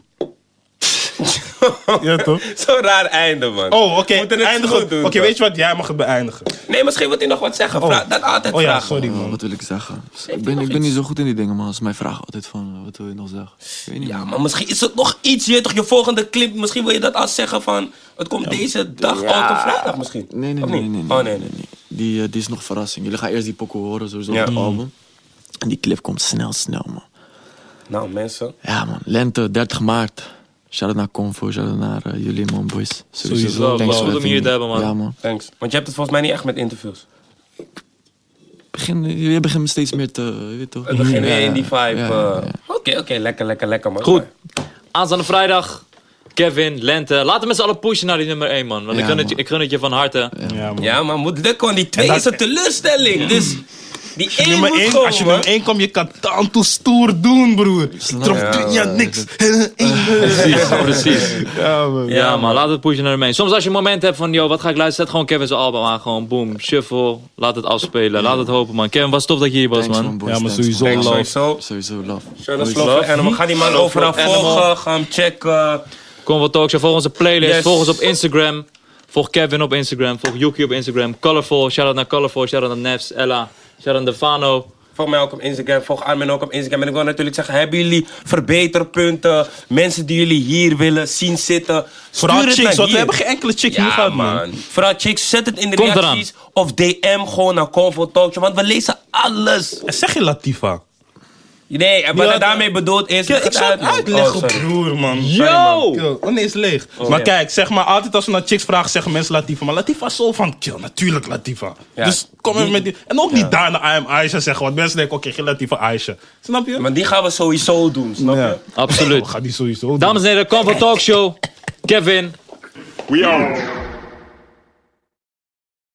Speaker 4: ja, toch?
Speaker 1: Zo'n raar einde, man.
Speaker 4: Oh, oké.
Speaker 1: Moeten het
Speaker 4: eindigen.
Speaker 1: goed
Speaker 4: Oké,
Speaker 1: doen, toch?
Speaker 4: weet je wat? Jij mag het beëindigen.
Speaker 1: Nee, misschien wil hij nog wat zeggen. Vra- dat altijd
Speaker 4: Oh ja,
Speaker 1: vragen.
Speaker 4: sorry
Speaker 3: eh,
Speaker 4: man.
Speaker 3: wat wil ik zeggen?
Speaker 1: je
Speaker 3: Ik ben,
Speaker 1: nog
Speaker 3: ik ben
Speaker 1: iets?
Speaker 3: niet zo goed in die dingen, man. Dat is mijn vraag altijd van, eh, wat wil je nog zeggen? Ik weet niet,
Speaker 1: Ja,
Speaker 3: man.
Speaker 1: maar misschien is het nog iets, je weet toch, je volgende clip, misschien wil je dat al zeggen van, het komt deze dag, elke vrijdag misschien.
Speaker 3: Nee, nee,
Speaker 1: Of
Speaker 3: nee,
Speaker 1: niet?
Speaker 3: nee, nee.
Speaker 1: Oh, nee, nee.
Speaker 3: Die, eh, die is nog verrassing. Jullie gaan eerst die pokoe horen, sowieso
Speaker 1: Ja. Mm.
Speaker 3: op het album. En die clip komt snel, snel, man.
Speaker 1: Nou, mensen.
Speaker 3: Ja, man. Lente, 30 maart. Shout-out naar Convo, shout-out naar eh, jullie, man, boys. Sowieso.
Speaker 4: Sowieso,
Speaker 2: man.
Speaker 3: for
Speaker 2: Goed om
Speaker 3: having
Speaker 2: hier te
Speaker 3: me.
Speaker 2: hebben, man.
Speaker 3: Ja, man.
Speaker 1: Thanks. Want je hebt het volgens mij niet echt met interviews.
Speaker 3: Begin, je begint me steeds meer te, eh, weet je toch?
Speaker 1: Het begint weer
Speaker 3: Ja,
Speaker 1: in die vibe.
Speaker 3: ja,
Speaker 1: eh, Oké,
Speaker 3: ja, ja.
Speaker 1: oké, lekker, lekker, lekker, man.
Speaker 2: Goed. Aanstaande vrijdag. Kevin, Lente. Laten we met z'n allen pushen naar die nummer 1, man. Want
Speaker 3: Ja,
Speaker 2: ik, gun het, je-
Speaker 3: man.
Speaker 2: ik gun het je van harte.
Speaker 4: Ja, man.
Speaker 1: Ja, maar moet lukken, want die twee is een teleurstelling. Dus die één
Speaker 4: Nummer
Speaker 1: moet
Speaker 4: 1,
Speaker 1: komen,
Speaker 4: als je
Speaker 1: man.
Speaker 4: nummer 1 komt, je kan tanto stoer doen, broer. Trok
Speaker 1: Ja,
Speaker 4: ja, niks. (laughs)
Speaker 2: Precies, precies.
Speaker 4: Ja, man.
Speaker 2: Ja, man, laat het pushen naar de main. Soms als je een moment hebt van, yo, wat ga ik luisteren? Zet gewoon Kevin zijn album aan. Gewoon boom, shuffle. Laat het afspelen. Laat het hopen, man. Kevin, was tof dat je hier was,
Speaker 3: Thanks, man,
Speaker 2: man.
Speaker 3: boys.
Speaker 4: Ja, maar
Speaker 3: Thanks,
Speaker 4: sowieso
Speaker 3: man.
Speaker 1: Thanks,
Speaker 4: love.
Speaker 1: sowieso.
Speaker 3: Sowieso love.
Speaker 1: Show us love for Animal. Ga die man overal
Speaker 2: Animal.
Speaker 1: volgen. Ga hem checken.
Speaker 2: Convo Talkshow, volg onze playlist.
Speaker 1: Yes.
Speaker 2: Volg ons op Instagram. Volg Kevin op Instagram. Volg Yuki op Instagram. Colorful, shout-out naar Colorful. Shout-out naar Nefs, Ella. Shout-out naar Fano.
Speaker 1: Volg mij ook op Instagram. Volg Armin ook op Instagram. En ik wil natuurlijk zeggen, hebben jullie verbeterpunten? Mensen die jullie hier willen zien zitten? Stuur
Speaker 4: Vooral
Speaker 1: het
Speaker 4: chicks,
Speaker 1: naar
Speaker 4: want we
Speaker 1: hier.
Speaker 4: hebben geen enkele chick hier
Speaker 1: Ja,
Speaker 4: gehad,
Speaker 1: man.
Speaker 4: man.
Speaker 1: Vooral chicks, zet het in de
Speaker 2: Komt eraan.
Speaker 1: reacties. Of DM gewoon naar Convo Talkshow. Want we lezen alles.
Speaker 4: En Zeg je Latifa?
Speaker 1: Nee, en wat
Speaker 4: Ja,
Speaker 1: hij daarmee bedoelt is...
Speaker 4: Ja, ik zou het
Speaker 1: Oh,
Speaker 4: uitleggen,
Speaker 1: sorry.
Speaker 4: broer, man.
Speaker 1: man.
Speaker 4: Kill. Oh nee, is leeg. maar
Speaker 1: ja.
Speaker 4: kijk, zeg maar, altijd als we naar chicks vragen, zeggen mensen Latifa. Maar Latifa is zo van, kill, natuurlijk Latifa.
Speaker 1: Ja.
Speaker 4: Dus kom even met die... En ook niet daarna I am Aisha zeggen, want mensen denken, oké, geen Latifa, Aisha. Snap je?
Speaker 1: Maar die gaan we sowieso doen, snap je?
Speaker 4: Ja.
Speaker 3: Oh,
Speaker 2: Absoluut.
Speaker 4: Ga die sowieso doen.
Speaker 2: Dames en heren, Convo Talkshow. Kevin.
Speaker 6: We out.